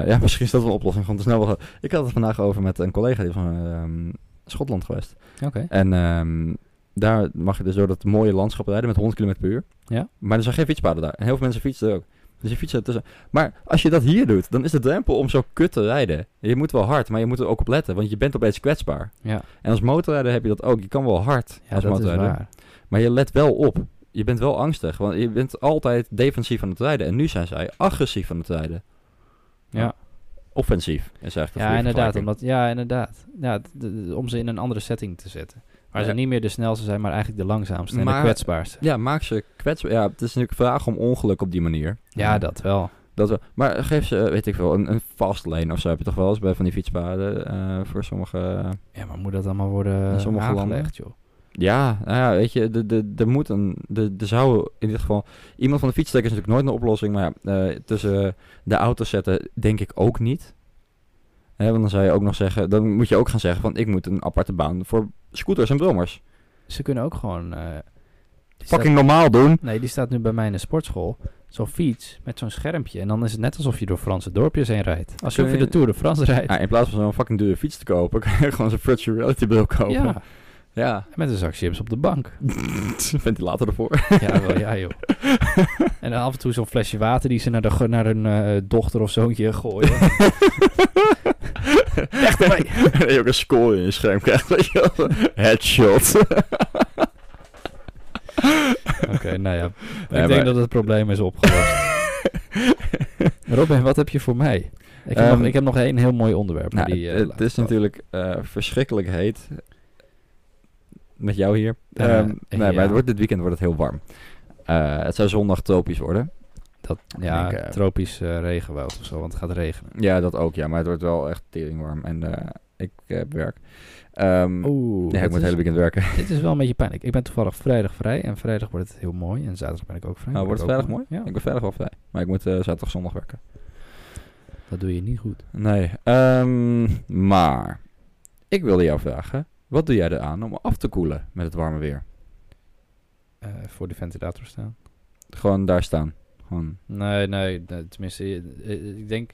Eh, ja, misschien is dat wel een oplossing. Want het is nou wel... Ik had het vandaag over met een collega die is van ehm, Schotland geweest.
Oké.
En ehm, daar mag je dus door dat mooie landschap rijden met 100 km per uur.
Ja.
Maar er zijn geen fietspaden daar. En heel veel mensen fietsen er ook. Dus je fietst ertussen. Maar als je dat hier doet, dan is de drempel om zo kut te rijden. Je moet wel hard, maar je moet er ook op letten, want je bent opeens kwetsbaar.
Ja,
En als motorrijder heb je dat ook. Je kan wel hard
ja
als
dat is
motorrijder.
waar.
Maar je let wel op. Je bent wel angstig, want je bent altijd defensief aan het rijden. En nu zijn zij agressief aan het rijden.
Ja.
Offensief, is eigenlijk de
Ja,
goede
inderdaad.
vergelijking.
Omdat, ja, inderdaad. Ja, d- d- om ze in een andere setting te zetten. Waar ze
Ja.
niet meer de snelste zijn, maar eigenlijk de langzaamste en de
Maar-
kwetsbaarste.
Ja, maak ze kwetsbaar. Ja, het is natuurlijk een vraag om ongeluk op die manier.
Ja, dat wel.
Dat wel. Maar geef ze, eh, weet ik veel, een, een fast lane of zo heb je toch wel eens bij van die fietspaden eh, voor sommige...
Ja, maar moet dat allemaal worden eh,
In sommige
aangelegd, joh?
Ja, nou ja, weet je, de- de- er moet een. de- Er zou in dit geval. Iemand van de fietstek is natuurlijk nooit een oplossing. Maar ja, eh, tussen de auto's zetten, denk ik ook niet. Hè, want dan zou je ook nog zeggen. Dan moet je ook gaan zeggen: van ik moet een aparte baan voor scooters en brommers.
Ze kunnen ook gewoon... eh, die
Fucking normaal doen.
staat- nee, die staat nu bij mij in de sportschool. Zo'n fiets met zo'n schermpje. En dan is het net alsof je door Franse dorpjes heen rijdt. Alsof
kun
je
je-
de Tour de France rijdt.
Ja, Nou, in plaats van zo'n fucking dure fiets te kopen, kan je gewoon zo'n virtual reality bril kopen.
Ja,
ja.
met een zak chips op de bank.
Ventilator ervoor.
ja, wel ja, joh. En dan af en toe zo'n flesje water die ze naar, de, go- naar hun eh, dochter of zoontje gooien.
Echt erbij. Dat je ook een score in je scherm krijgt. Weet je wel. Headshot.
Oké, nou ja.
Nee,
ik
maar-
denk dat het probleem is opgelost. Robin, wat heb je voor mij? Ik heb,
Ehm,
nog, ik heb nog één heel mooi onderwerp. maar
Nou,
die, eh,
het- het
laten
is
we-
natuurlijk eh, verschrikkelijk heet. Met jou hier.
Eh,
Ehm, nee,
ja.
maar het wordt, dit weekend wordt het heel warm. Eh, het zou zondag tropisch worden.
Dat, ja,
denk, eh,
tropisch eh, regenwoud of zo, want het gaat regenen.
Ja, dat ook, ja. Maar het wordt wel echt teringwarm. En eh, ik heb werk. Ehm,
Oeh,
ja, ik moet het
Oh, is,
hele weekend werken.
dit is wel een beetje pijnlijk. Ik ben toevallig vrijdag vrij en vrijdag wordt het heel mooi en zaterdag ben ik ook vrij.
Nou,
Ben
wordt
ik
het
ook
vrijdag mooi?
Ja,
Ik ben vrijdag wel vrij. Maar ik moet eh, zaterdag zondag werken.
dat doe je niet goed.
Nee. ehm, maar ik wilde jou vragen. Wat doe jij eraan om af te koelen met het warme weer?
Eh, voor de ventilator staan.
Gewoon daar staan. Gewoon.
Nee, nee, nee, tenminste, eh, eh, ik denk,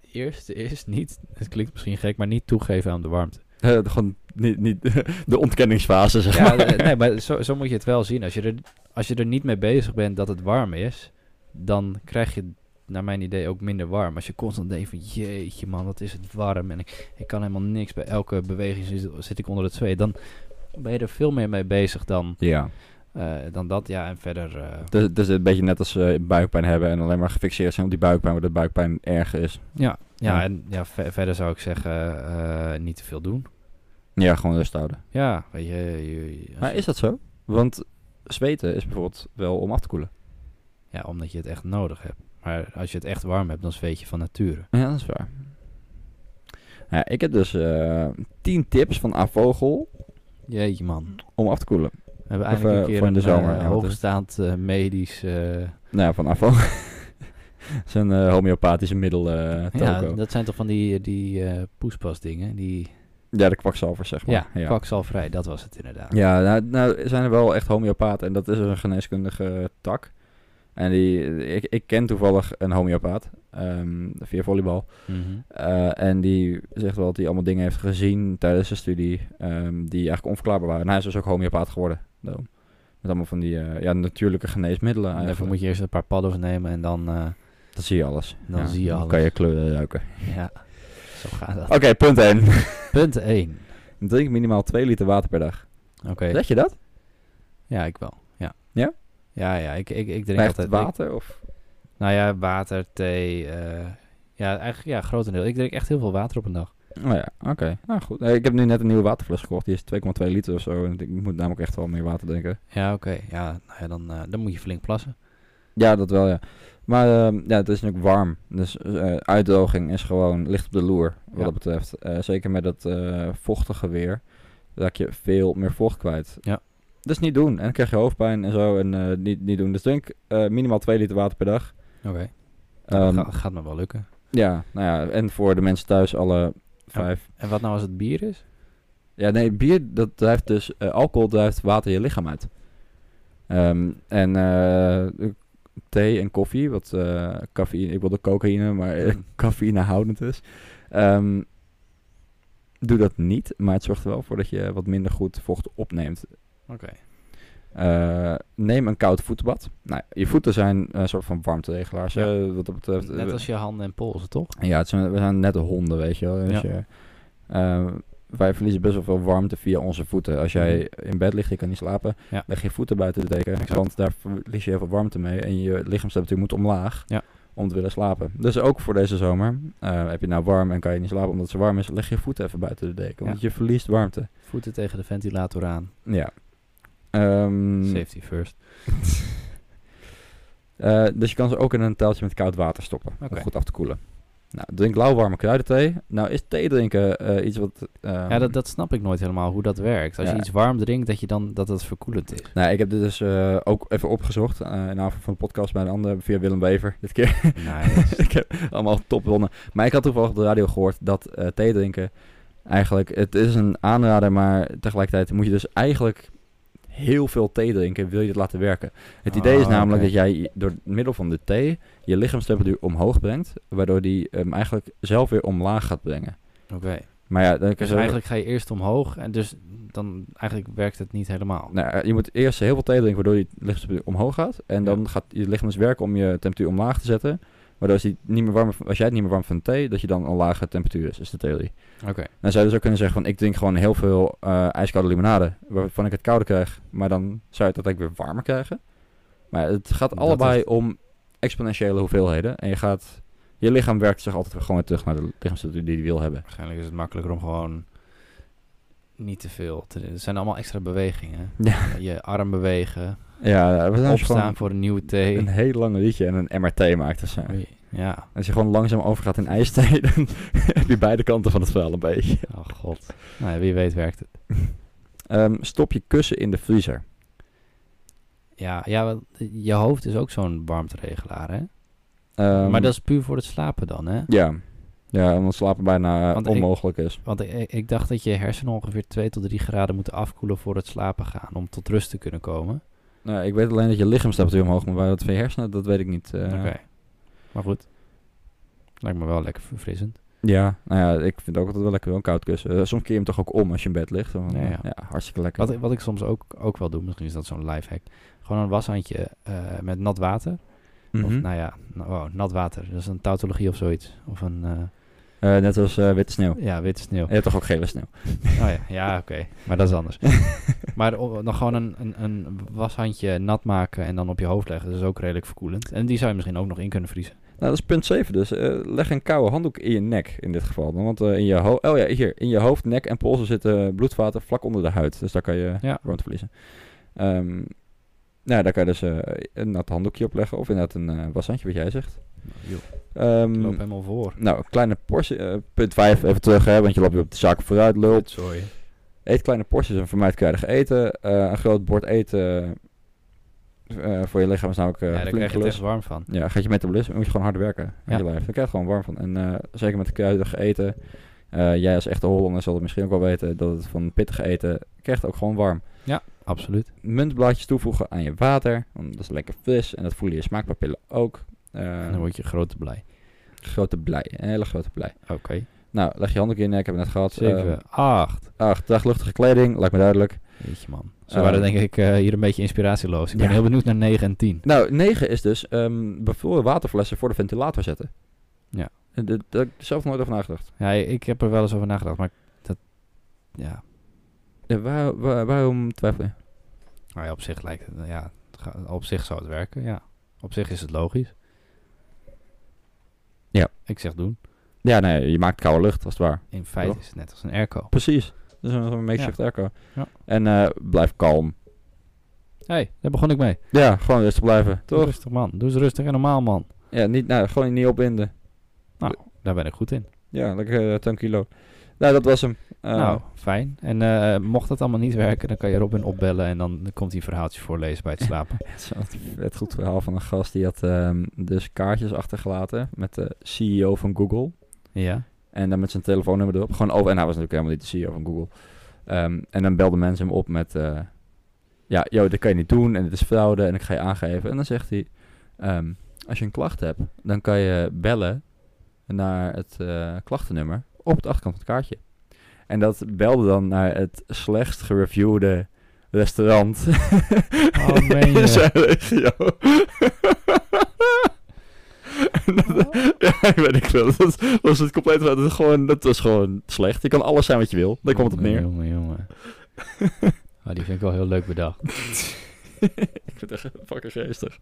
het eerste is niet, het klinkt misschien gek, maar niet toegeven aan de warmte.
eh, gewoon niet, niet de ontkenningsfase, zeg
Ja, eh, nee, maar zo, zo moet je het wel zien. Als je, er, als je er niet mee bezig bent dat het warm is, dan krijg je naar mijn idee ook minder warm. Als je constant denkt van jeetje man, wat is het warm en ik, ik kan helemaal niks. Bij elke beweging zit, zit ik onder het zweet. Dan ben je er veel meer mee bezig dan,
Ja,
eh, dan dat. Ja, en verder... eh,
dus, dus een beetje net als eh, buikpijn hebben en alleen maar gefixeerd zijn op die buikpijn, waar de buikpijn erger is.
ja, ja,
Ja.
en ja, ver- verder zou ik zeggen eh, niet te veel doen.
Ja, gewoon rust houden.
Ja, weet je... je- als
Maar
je-
is dat zo? Want zweten is bijvoorbeeld wel om af te koelen.
Ja, omdat je het echt nodig hebt. Maar als je het echt warm hebt, dan zweet je van nature.
Ja, dat is waar. Nou ja, ik heb dus eh 10 tips van Avogel
Jeetje man.
om af te koelen.
We hebben
Of,
eindelijk
eh,
een keer
voor
een
in de zomer,
eh,
ja, wat is-
hoogstaand eh, medisch... eh,
Nou ja, van Avogel. Zijn eh, homeopathische middel eh
ja,
toko. Ja,
dat zijn toch van die, die eh, poespasdingen? Die,
Oh, de kwakzalvers, zeg maar.
ja, kwakzalverij, dat was het inderdaad.
Ja, nou, nou er zijn er wel echt homeopaten en dat is een geneeskundige tak. En die, ik, ik ken toevallig een homeopaat ehm, via volleybal.
Mhm.
Eh, en die zegt wel dat hij allemaal dingen heeft gezien tijdens zijn studie ehm, die eigenlijk onverklaarbaar waren. En hij is dus ook homeopaat geworden. Daarom. Met allemaal van die eh, ja, natuurlijke geneesmiddelen
En
eigenlijk.
Daarvoor moet je eerst een paar paddo's nemen en dan... eh,
Dan zie je alles.
Dan
Ja,
zie je
kan
alles.
je kleuren ruiken.
ja, zo gaat dat.
Oké, punt 1.
Punt 1.
Drink minimaal 2 liter water per dag.
Oké,
Weet je dat?
ja, ik wel. Ja?
Ja?
Ja, ja, ik, ik, ik drink
Echt
altijd... ik-
water? Of?
nou ja, water, thee... eh, ja, eigenlijk ja, grotendeel. Ik drink echt heel veel water op een dag.
Oh ja, oké. Nou goed. Eh, Ik heb nu net een nieuwe waterfles gekocht. Die is 2,2 liter of zo. En ik moet namelijk echt wel meer water drinken.
Ja, oké. Ja, nou ja, dan, eh, dan moet je flink plassen.
Ja, dat wel, ja. Maar ehm, ja, het is natuurlijk warm. Dus eh, uitdroging is gewoon ligt op de loer, wat
Ja.
dat betreft. Eh, zeker met dat eh, vochtige weer raak je veel meer vocht kwijt.
Ja.
Dus niet doen. En dan krijg je hoofdpijn en zo. En eh, niet, niet doen. Dus drink eh, minimaal 2 liter water per dag.
Oké,
Ehm,
Ga- gaat me wel lukken.
Ja, nou ja. En voor de mensen thuis alle vijf.
En wat nou als het bier is?
Ja, nee, bier dat drijft dus, eh, alcohol drijft water je lichaam uit. Ehm, en eh, thee en koffie, wat eh cafeïne, ik wilde cocaïne, maar eh, cafeïnehoudend is. Ehm, doe dat niet, maar het zorgt er wel voor dat je wat minder goed vocht opneemt.
Oké.
Eh, neem een koud voetenbad. Nou, je voeten zijn een soort van warmteregelaars.
Ja.
eh, wat dat betreft.
Net als je handen en polsen, toch?
Ja, het zijn, we zijn net honden, weet je wel. Dus
Ja.
je- eh, wij verliezen best wel veel warmte via onze voeten. Als jij in bed ligt, je kan niet slapen,
Mhm. Ja.
leg je voeten buiten de deken.
Exact.
Want daar verlies je heel veel warmte mee. En je lichaamstemperatuur moet omlaag
Ja.
om te willen slapen. Dus ook voor deze zomer, eh, heb je nou warm en kan je niet slapen omdat ze warm is, leg je voeten even buiten de deken.
Ja.
Want je verliest warmte.
Voeten tegen de ventilator aan.
Ja. Ehm,
Safety first.
eh, dus je kan ze ook in een teltje met koud water stoppen.
Oké.
Om goed af te koelen. Nou, drink lauwwarme kruidenthee. Nou is thee drinken eh, iets wat... ehm,
ja, dat, dat snap ik nooit helemaal hoe dat werkt. Als
Ja.
je iets warm drinkt, dat je dan dat het verkoelend is.
Nou, ik heb dit dus eh, ook even opgezocht. eh in aanvang van de podcast bij een ander, via Willem Wever dit keer.
Nice.
ik heb allemaal topwonnen. Maar ik had toevallig op de radio gehoord dat eh, thee drinken eigenlijk... Het is een aanrader, maar tegelijkertijd moet je dus eigenlijk heel veel thee drinken, wil je het laten werken. Het idee is
Ah,
namelijk dat
oké.
jij door middel van de thee je lichaamstemperatuur omhoog brengt, waardoor die hem eigenlijk zelf weer omlaag gaat brengen.
Oké.
Maar ja, dan kun
Dus
je eigenlijk...
eigenlijk ga je eerst omhoog en dus dan eigenlijk werkt het niet helemaal.
nou, je moet eerst heel veel thee drinken, waardoor je lichaamstemperatuur omhoog gaat. En dan
Ja.
gaat je lichaam dus werken om je temperatuur omlaag te zetten. Waardoor als, die niet meer warm, als jij het niet meer warm van thee, dat je dan een lage temperatuur is, is de theorie.
Oké.
Dan zou je dus ook kunnen zeggen van, ik drink gewoon heel veel eh, ijskoude limonade, waarvan ik het kouder krijg. Maar dan zou je het uiteindelijk weer warmer krijgen. Maar het gaat
Dat
allebei
is-
om exponentiële hoeveelheden. En je gaat... Je lichaam werkt zich altijd weer gewoon weer terug naar de lichaamstemperatuur die hij wil hebben.
Waarschijnlijk is het makkelijker om gewoon niet te veel te Het zijn allemaal extra bewegingen.
Ja.
Je arm bewegen,
Ja, we zijn dus
opstaan
gewoon
voor een nieuwe thee.
een heel lang liedje en een MRT maakt of zo.
Ja.
Als je gewoon langzaam overgaat in ijsthee, dan heb je beide kanten van het verhaal een beetje.
Oh god. Nou, ja, wie weet werkt het.
Ehm, stop je kussen in de vriezer.
Ja, ja wel, je hoofd is ook zo'n warmteregelaar, hè?
Ehm,
maar dat is puur voor het slapen dan, hè?
Ja. Ja, omdat slapen bijna eh,
Want ik-
onmogelijk is.
Want ik, ik dacht dat je hersenen ongeveer 2 tot 3 graden moeten afkoelen voor het slapen gaan. Om tot rust te kunnen komen.
Nou, ik weet alleen dat je lichaamstemperatuur omhoog moet, maar dat van je hersenen, dat weet ik niet. eh.
Oké. Maar goed. Lijkt me wel lekker verfrissend.
Ja, nou ja, ik vind het ook altijd wel lekker wel een koud kussen. Eh, soms keer je hem toch ook om als je in bed ligt. Dan,
Ja,
eh,
ja.
ja, hartstikke lekker.
Wat, ik- wat ik soms ook, ook wel doe, misschien is dat zo'n lifehack. Gewoon een washandje eh, met nat water.
Mhm.
Of nou ja, nou, wow, nat water. Dat is een tautologie of zoiets. Of een, eh,
Eh, net als eh, witte sneeuw.
ja, witte sneeuw.
Je hebt toch ook gele sneeuw?
Oh ja, ja oké. Maar dat is anders. maar o- dan gewoon een, een, een washandje nat maken en dan op je hoofd leggen. Dat is ook redelijk verkoelend. En die zou je misschien ook nog in kunnen vriezen.
Nou, dat is punt 7 dus. Eh, leg een koude handdoek in je nek in dit geval. dan, Want eh, in je hoofd... Oh ja, hier. In je hoofd, nek en polsen zitten bloedvaten vlak onder de huid. Dus daar kan je
Ja.
warmte verliezen. Ehm, nou, daar kan je dus eh, een nat handdoekje op leggen. Of inderdaad een eh, washandje, wat jij zegt. Ehm,
loop helemaal voor.
nou, kleine portie. eh, punt 5 even terug, hè. Want je loopt weer op de zaken vooruit, lult.
Sorry.
Eet kleine porties en vermijd kruidig eten. Eh, een groot bord eten eh, voor je lichaam is namelijk eh
ja, daar
flink
krijg je het
gelust.
echt warm van.
Ja, gaat je metabolisme, moet je gewoon hard werken aan
Ja.
je lijf. Dan krijg je het gewoon warm van. En eh, zeker met kruidig eten. eh, jij als echte Hollander zal het misschien ook wel weten dat het van pittig eten krijgt ook gewoon warm.
Absoluut.
Muntblaadjes toevoegen aan je water, want dat is lekker fris en dat voelen je smaakpapillen ook. Eh,
dan word je grote blij.
Grote blij, een hele grote blij.
Oké.
Nou, leg je handdoek in je nek, hebben we net gehad. Ehm,
7, 8.
ach, draagluchtige kleding, lijkt me duidelijk.
Jeetje man. Ze
Eh,
waren denk ik eh, hier een beetje inspiratieloos. Ik ben
Ja.
heel benieuwd naar 9 en 10.
Nou, 9 is dus ehm bevroren waterflessen voor de ventilator zetten.
Ja.
En dat- Daar heb ik zelf nooit over nagedacht.
Ja, ik heb er wel eens over nagedacht, maar dat... Ja,
Ja, waar, waar- waarom twijfel je?
nou ja op zich lijkt het... Ja, het ga- op zich zou het werken, ja. Op zich is het logisch.
Ja.
Ik zeg doen.
Ja, nee, je maakt koude lucht, als het waar.
In feite
Toch?
is het net als een airco.
Precies. Dus een, een makeshift airco.
Ja.
En eh, blijf kalm.
Hé, hey, daar begon ik mee.
Ja, gewoon rustig blijven.
Doe
Toch?
rustig man. Doe eens rustig en normaal man.
Ja, niet, nou, gewoon niet opwinden.
Daar ben ik goed in.
Ja, lekker eh 10 kilo. Nou, dat was hem. Eh,
nou, fijn. En eh, mocht dat allemaal niet werken, dan kan je Robin opbellen en dan komt hij een verhaaltje voorlezen bij het slapen.
Het is wel het goed verhaal van een gast. Die had ehm, dus kaartjes achtergelaten met de CEO van Google.
ja.
En dan met zijn telefoonnummer erop. Gewoon over. En hij was natuurlijk helemaal niet de CEO van Google. Ehm, en dan belden mensen hem op met... eh, ja, joh, dat kan je niet doen. En dit is fraude. En ik ga je aangeven. En dan zegt hij... ehm, als je een klacht hebt, dan kan je bellen naar het eh, klachtennummer op de achterkant van het kaartje. En dat belde dan naar het slechtst gereviewde restaurant
Oh, meen
in
je?
zijn regio. En dat- ja, ik weet ik wel. Dat was het compleet. Dat was gewoon, dat was gewoon slecht. Je kan alles zijn wat je wil. Daar komt het op
Jongen,
neer.
Jongen, jongen. Maar die vind ik wel heel leuk bedacht.
Ik vind het echt fucking geestig.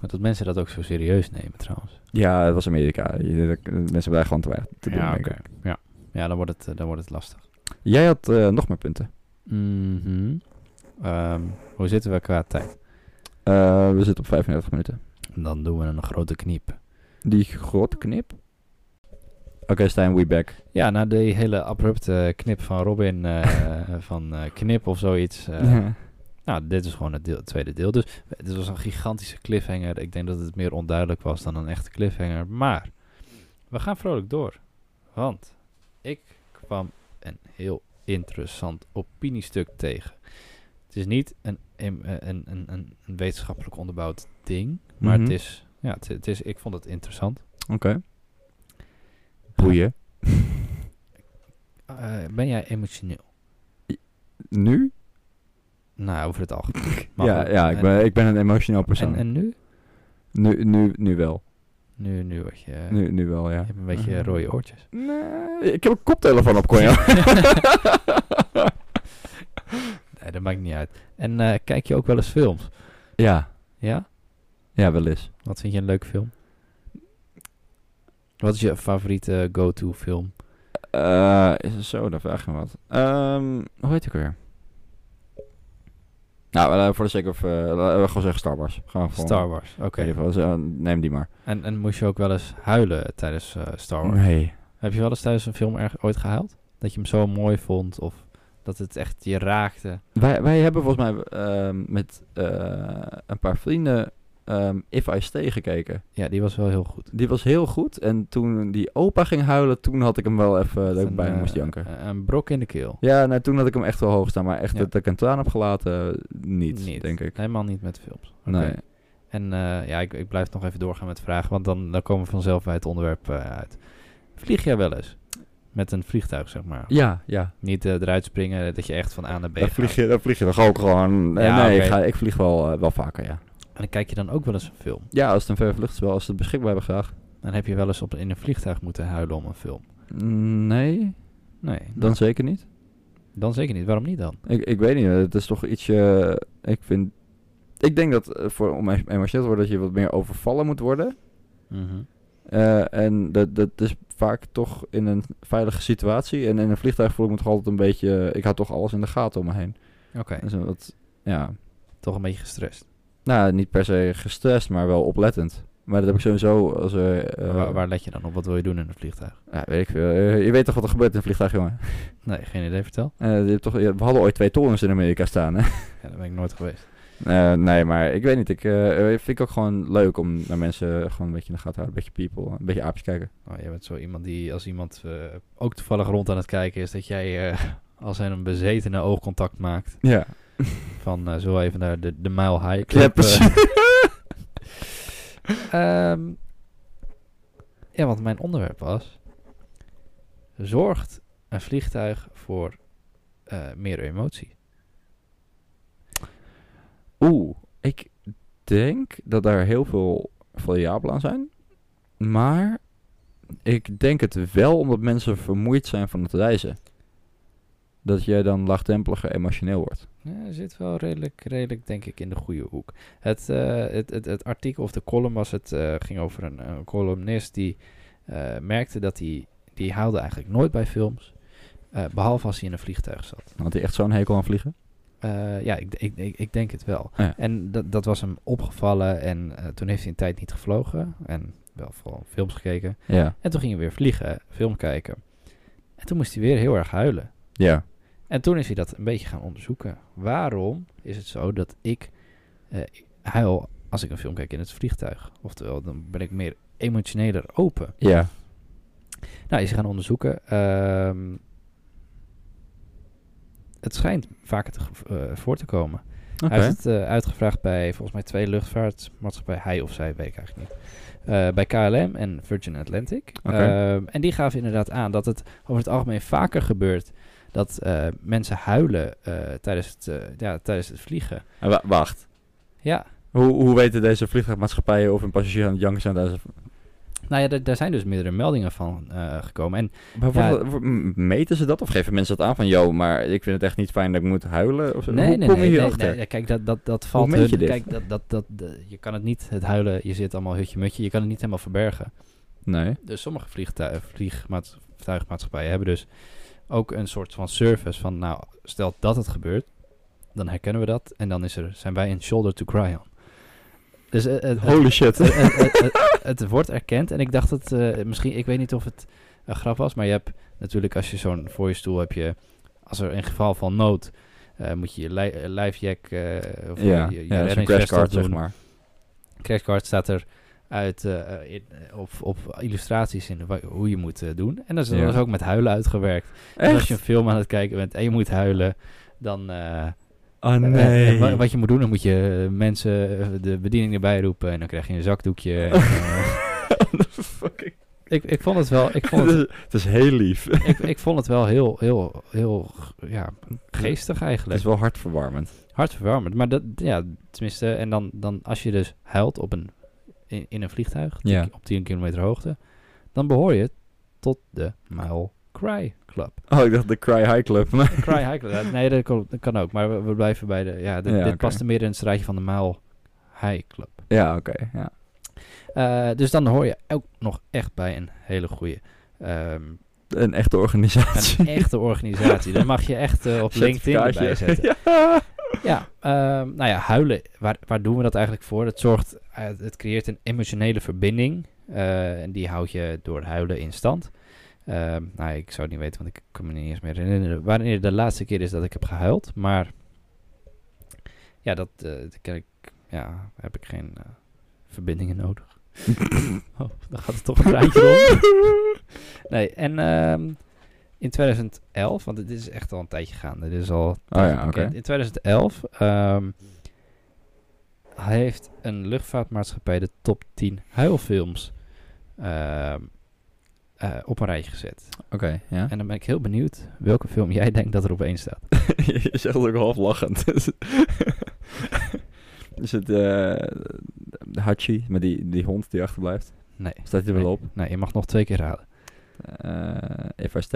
Maar dat mensen dat ook zo serieus nemen trouwens.
Ja, het was Amerika. Je- Mensen hebben daar gewoon te weinig te doen. denk ik.
Ja. ja, dan wordt het, eh, dan wordt het lastig.
Jij had eh, nog meer punten.
Mhm. Ehm, hoe zitten we qua tijd?
Eh, we zitten op 35 minuten.
Dan doen we een grote kniep.
Die grote knip. Oké, Stijn, we back.
Ja, na die hele abrupte knip van Robin eh, van eh, knip of zoiets. eh,
Ja.
Nou, dit is gewoon het, deel, het tweede deel. Dus eh, dit was een gigantische cliffhanger. Ik denk dat het meer onduidelijk was dan een echte cliffhanger. Maar we gaan vrolijk door. Want ik kwam een heel interessant opiniestuk tegen. Het is niet een, een, een, een, een een wetenschappelijk onderbouwd ding. Maar
Mhm.
het is, ja, het, het is, ik vond het interessant.
Oké. Boeien.
Eh, ben jij emotioneel?
Nu?
Nou, over het algemeen. Maar
Ja,
goed.
ja ik,
En-
ben, ik ben een emotioneel persoon.
En, en nu?
Nu, nu, nu wel.
Nu, nu word je...
Nu, nu wel, ja.
Je hebt een beetje
Mhm.
rode oortjes.
Nee, ik heb een koptelefoon op, Conjo.
Nee, dat maakt niet uit. En eh, kijk je ook wel eens films?
ja.
Ja?
Ja, wel eens.
Wat vind je een leuke film? Wat is je favoriete go-to film?
Eh, is het zo? Dan vraag je me wat. Ehm, hoe heet ik weer? Nou, eh, voor de sake of... eh, laten we gewoon zeggen Star Wars. Gewoon voor-
Star Wars. Oké.
Oké, dus, eh, neem die maar.
En, en moest je ook wel eens huilen tijdens eh, Star Wars?
Nee.
Heb je wel eens tijdens een film erg ooit gehuild? Dat je hem zo mooi vond of dat het echt je raakte?
Wij, wij hebben volgens mij ehm, met eh, een paar vrienden ehm, If I Stay gekeken.
Ja, die was wel heel goed.
Die was heel goed. En toen die opa ging huilen, toen had ik hem wel even... Dat ik
Een,
bij
eh,
moest janken.
Een, een brok in de keel.
Ja, nou, toen had ik hem echt wel hoog staan. Maar echt
Ja.
dat ik een traan heb gelaten, niet, denk ik.
Helemaal niet met films. Oké.
Nee.
En eh, ja, ik, ik blijf nog even doorgaan met vragen, want dan, dan komen we vanzelf bij het onderwerp eh, uit. Vlieg jij wel eens? Met een vliegtuig, zeg maar.
Ja, ja.
Niet eh, eruit springen, eh, dat je echt van A naar B
Dan
gaat.
vlieg, je, dan vlieg je toch ook gewoon... eh, Nee,
Ja,
nee
oké.
ik, ga, ik vlieg wel, eh, wel vaker, ja.
En dan kijk je dan ook wel eens een film.
Ja, als het een verre vlucht is wel. Als ze het beschikbaar hebben, graag.
Dan heb je wel eens op, in een vliegtuig moeten huilen om een film.
Mm, Nee,
Nee,
dan zeker niet.
dan zeker niet. Waarom niet dan?
Ik, ik weet niet, het is toch ietsje... ik vind... Ik denk dat eh, voor, om em- emotioneel te worden, dat je wat meer overvallen moet worden. Eh, en dat, dat is vaak toch in een veilige situatie. En in een vliegtuig voel ik me toch altijd een beetje... Ik had toch alles in de gaten om me heen.
Oké,
Dus wat, ja,
toch een beetje gestrest.
Nou, niet per se gestrest, maar wel oplettend. Maar dat heb ik sowieso als er... eh,
waar, waar let je dan op? Wat wil je doen in een vliegtuig?
ja, weet ik veel. Eh, je weet toch wat er gebeurt in een vliegtuig, jongen?
Nee, geen idee, vertel.
Eh, je hebt toch, je- we hadden ooit twee torens in Amerika staan, hè?
Ja, daar ben ik nooit geweest.
Eh, nee, maar ik weet niet. Ik eh, eh, vind ik ook gewoon leuk om naar mensen gewoon een beetje in de gaten te houden. Een beetje people, een beetje aapjes kijken.
Oh, je bent zo iemand die, als iemand eh, ook toevallig rond aan het kijken is, dat jij eh, als hij een bezetene oogcontact maakt.
Ja.
Van eh, zo even naar de, de mile high club. eh.
Kleppers.
Ehm, ja, want mijn onderwerp was... Zorgt een vliegtuig voor eh, meer emotie?
Oeh, ik denk dat daar heel veel variabelen aan zijn. Maar ik denk het wel omdat mensen vermoeid zijn van het reizen. Dat jij dan laagdrempeliger emotioneel wordt.
Ja, zit wel redelijk, redelijk, denk ik, in de goede hoek. Het, eh, het, het, het artikel of de column was het, eh, ging over een, een columnist die eh, merkte dat hij... Die haalde eigenlijk nooit bij films, eh, behalve als hij in een vliegtuig zat.
Had hij echt zo'n hekel aan vliegen?
Eh, ja, ik, ik, ik, ik denk het wel.
Ja.
En dat, dat was hem opgevallen en eh, toen heeft hij een tijd niet gevlogen. En wel vooral films gekeken.
Ja.
En toen ging hij weer vliegen, film kijken. En toen moest hij weer heel erg huilen.
Ja.
En toen is hij dat een beetje gaan onderzoeken. Waarom is het zo dat ik eh, huil als ik een film kijk in het vliegtuig? Oftewel, dan ben ik meer emotioneler open.
Ja.
Nou, is ze gaan onderzoeken. Ehm, het schijnt vaker te, ge- eh, voor te komen.
Oké.
Hij heeft het eh, uitgevraagd bij volgens mij twee luchtvaartmaatschappijen. Hij of zij, weet ik eigenlijk niet. Eh, bij KLM en Virgin Atlantic.
Oké.
Ehm, en die gaven inderdaad aan dat het over het algemeen vaker gebeurt dat eh, mensen huilen eh, tijdens, het, eh, ja, tijdens het vliegen.
En wa- wacht.
Ja,
Hoe, hoe weten deze vliegtuigmaatschappijen of een passagier aan het janken zijn? tijdens een-
nou ja, daar- daar zijn dus meerdere meldingen van eh, gekomen. En
Maar wat- wat- m- meten ze dat of geven mensen dat aan van... Yo, maar ik vind het echt niet fijn dat ik moet huilen? Of zo?
Nee,
hoe
nee,
kom
nee,
je
nee,
hierachter?
nee, ja, Kijk, dat, dat, dat valt
meet je
hun-
dit?
Kijk, dat, dat, dat, de- je kan het niet, het huilen, je zit allemaal hutje mutje, je kan het niet helemaal verbergen.
nee.
Dus sommige vliegtu- vliegmaats- vliegtuigmaatschappijen hebben dus ook een soort van service van, nou, stel dat het gebeurt, dan herkennen we dat en dan is er, zijn wij een shoulder to cry on. Dus eh, eh, het,
Holy shit.
het, het, het- het- het wordt erkend en ik dacht dat eh, misschien, ik weet niet of het een grap was, maar je hebt natuurlijk als je zo'n voor je stoel heb je, als er in geval van nood, eh, moet je je li- eh, lifejack eh, of
ja,
je, je
ja zo'n
reddingsvest
crashcard,
opdoen.
zeg maar.
Crashcard staat er uit eh, eh, in- eh, op, op illustraties in wa- hoe je moet eh, doen. En dat is, dat
Ja.
is ook met huilen uitgewerkt. Dus als je een film aan het kijken bent en je moet huilen, dan eh,
Oh
eh,
nee.
eh, wa- wat je moet doen, dan moet je eh, mensen eh, de bediening erbij roepen en dan krijg je een zakdoekje. en, eh,
Fucking-
ik, ik vond het wel, ik vond
Het
het,
is- het is heel lief.
ik, ik vond het wel heel, heel, heel ja, geestig
Het is
eigenlijk.
wel hartverwarmend.
Hartverwarmend. Maar dat, ja, tenminste, en dan, dan als je dus huilt op een, in, in een vliegtuig tien
Ja.
ki- op 10 kilometer hoogte, dan behoor je tot de Mile Cry Club.
Oh, ik dacht de Cry High Club. maar-
Cry High Club. ja, Nee, dat kan, dat kan ook. Maar we, we blijven bij de, ja, dit,
Ja,
dit
oké.
past er meer in het straatje van de Mile High Club.
ja, oké. ja.
Eh, dus dan hoor je ook nog echt bij een hele goede...
Een echte organisatie.
een echte organisatie. Daar mag je echt eh, op LinkedIn
Certificaatje.
erbij zetten.
ja.
Ja, ehm, nou ja, huilen, waar, waar doen we dat eigenlijk voor? Het, zorgt, eh, het creëert een emotionele verbinding. eh, en die houd je door huilen in stand. Ehm, nou, ik zou het niet weten, want ik kan me niet eens meer herinneren. Wanneer de laatste keer is dat ik heb gehuild. Maar ja, dat, eh, dat kan ik, ja, heb ik geen eh, verbindingen nodig. oh, dan gaat het toch een rijtje rond. Nee, en ehm, in 2011, want dit is echt al een tijdje gaande. Dit is al
Oh ja, oké.
bekend. In 2011 ehm, heeft een luchtvaartmaatschappij de top 10 huilfilms ehm, eh, op een rijtje gezet.
Oké, ja.
En dan ben ik heel benieuwd welke film jij denkt dat er op één staat.
je zegt ook half lachend. is het eh Hachi, met die, die hond die achterblijft?
Nee.
Staat hij er
nee.
wel op?
Nee, je mag nog twee keer raden.
Eh FST?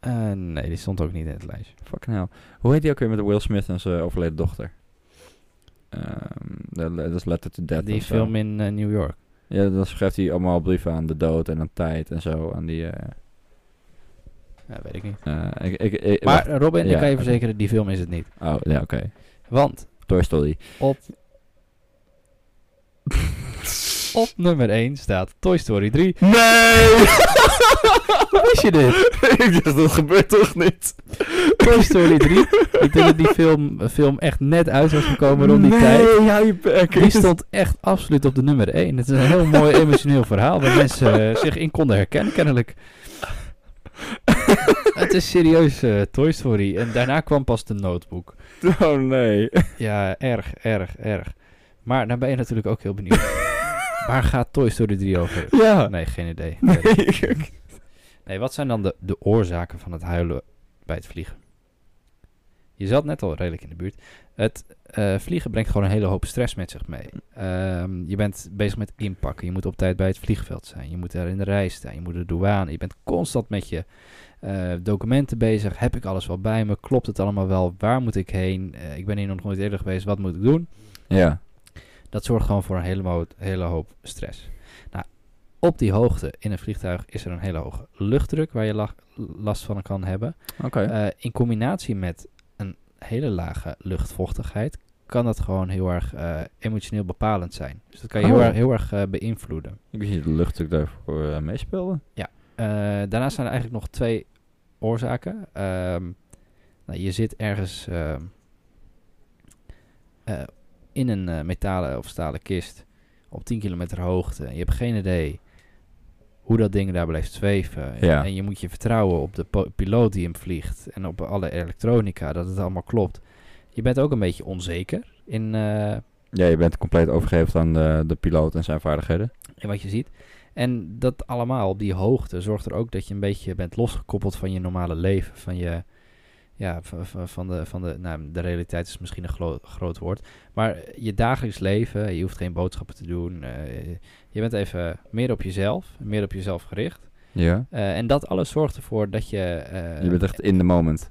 Eh, nee, die stond ook niet in het lijstje.
Fucking hell. Hoe heet die ook weer met Will Smith en zijn overleden dochter? Ehm, Dat dat is Letter to Death.
die
of zo.
film in eh, New York.
Ja, dan schrijft hij allemaal brieven aan de dood en aan tijd en zo. Aan die... eh,
Ja, weet ik niet.
eh, ik, ik, ik-
Maar Robin, ik
Ja,
kan je
oké.
verzekeren, die film is het niet.
wacht. Oh, ja, oké.
Want
Toy Story.
op, op nummer 1 staat Toy Story 3.
Nee!
Hoe wist je dit?
ik dacht, dat gebeurt toch niet?
Toy Story 3. Ik denk dat die film, eh, film echt net uit was gekomen rond die tijd.
Nee, hou je bek.
Die stond echt absoluut op de nummer 1. Het is een heel mooi emotioneel verhaal waar mensen eh, zich in konden herkennen, kennelijk. Het is serieus eh, Toy Story. En daarna kwam pas de notebook.
Oh nee.
Ja, erg, erg, erg. Maar dan ben je natuurlijk ook heel benieuwd. Waar gaat Toy Story 3 over?
Ja.
Nee, geen idee.
Nee.
Nee, wat zijn dan de, de oorzaken van het huilen bij het vliegen? Je zat net al redelijk in de buurt. Het eh, vliegen brengt gewoon een hele hoop stress met zich mee. Ehm, je bent bezig met inpakken. Je moet op tijd bij het vliegveld zijn. Je moet daar in de rij staan. Je moet de douane. Je bent constant met je eh, documenten bezig. Heb ik alles wel bij me? Klopt het allemaal wel? Waar moet ik heen? Eh, ik ben hier nog nooit eerder geweest. Wat moet ik doen?
ja.
Dat zorgt gewoon voor een hele, mo- hele hoop stress. Nou, op die hoogte in een vliegtuig is er een hele hoge luchtdruk waar je la- last van kan hebben.
Oké.
Eh, in combinatie met een hele lage luchtvochtigheid kan dat gewoon heel erg eh, emotioneel bepalend zijn. Dus dat kan je heel
Oh.
erg, heel erg eh, beïnvloeden.
ik wist niet dat luchtdruk daarvoor eh, meespeelde.
Eh, daarnaast zijn er eigenlijk nog twee oorzaken. Ehm, nou, je zit ergens ehm, eh, in een eh, metalen of stalen kist op 10 kilometer hoogte. Je hebt geen idee hoe dat ding daar blijft zweven. En-
Ja.
En je moet je vertrouwen op de po- piloot die hem vliegt en op alle elektronica, dat het allemaal klopt. Je bent ook een beetje onzeker in, eh,
eh, Ja, je bent compleet overgegeven aan de, de piloot en zijn vaardigheden.
in wat je ziet. En dat allemaal op die hoogte zorgt er ook dat je een beetje bent losgekoppeld van je normale leven. Van je, ja, van, van- van de, van de, nou, de realiteit is misschien een glo- groot woord. Maar je dagelijks leven, je hoeft geen boodschappen te doen. eh, je bent even meer op jezelf, meer op jezelf gericht.
Ja.
Eh, en dat alles zorgt ervoor dat je, eh,
Je bent echt in the moment.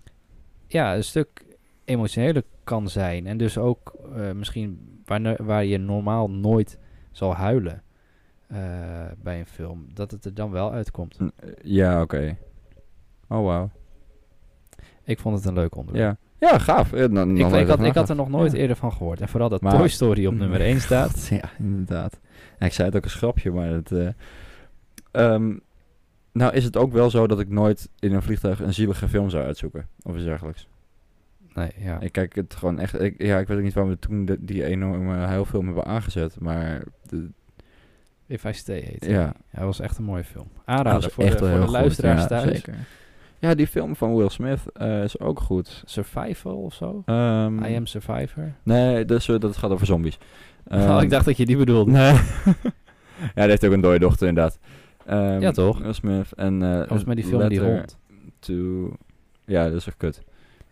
ja, een stuk emotioneler kan zijn. En dus ook eh, misschien waar, waar je normaal nooit zal huilen eh, bij een film. Dat het er dan wel uitkomt.
Eh, Ja, oké. Oh, wauw.
Ik vond het een leuk onderwerp.
Ja. Ja, gaaf. Eh, nou,
Ik,
nog even
ik, had, ik had
nagedacht.
er nog nooit
Ja.
eerder van gehoord. En vooral dat
Maar-
Toy Story op nummer 1 staat.
God, ja, inderdaad. Ja, ik zei het ook een schrapje, maar het... eh, ehm, nou is het ook wel zo dat ik nooit in een vliegtuig een zielige film zou uitzoeken. Of iets dergelijks.
Nee, ja.
Ik kijk het gewoon echt... Ik, ja, ik weet ook niet waarom we toen de- die enorme huilfilm hebben aangezet. Maar de-
If I Stay heet hij.
ja,
Hij was echt een mooie film.
dat
Aanrader
is
voor
echt
de,
wel
voor de
heel goed.
luisteraars
ja,
thuis.
Zeker. Ja, die film van Will Smith eh, is ook goed.
Survival of zo?
Ehm,
I Am Survivor?
Nee, dus, eh, dat gaat over zombies.
oh,
Ehm,
ik dacht dat je die bedoelde.
Nee. ja, die heeft ook een dode dochter, inderdaad. Ehm,
Ja, toch?
Will Smith en... eh,
Volgens mij die film met die
Letter
hond.
To... Ja, dat is echt kut.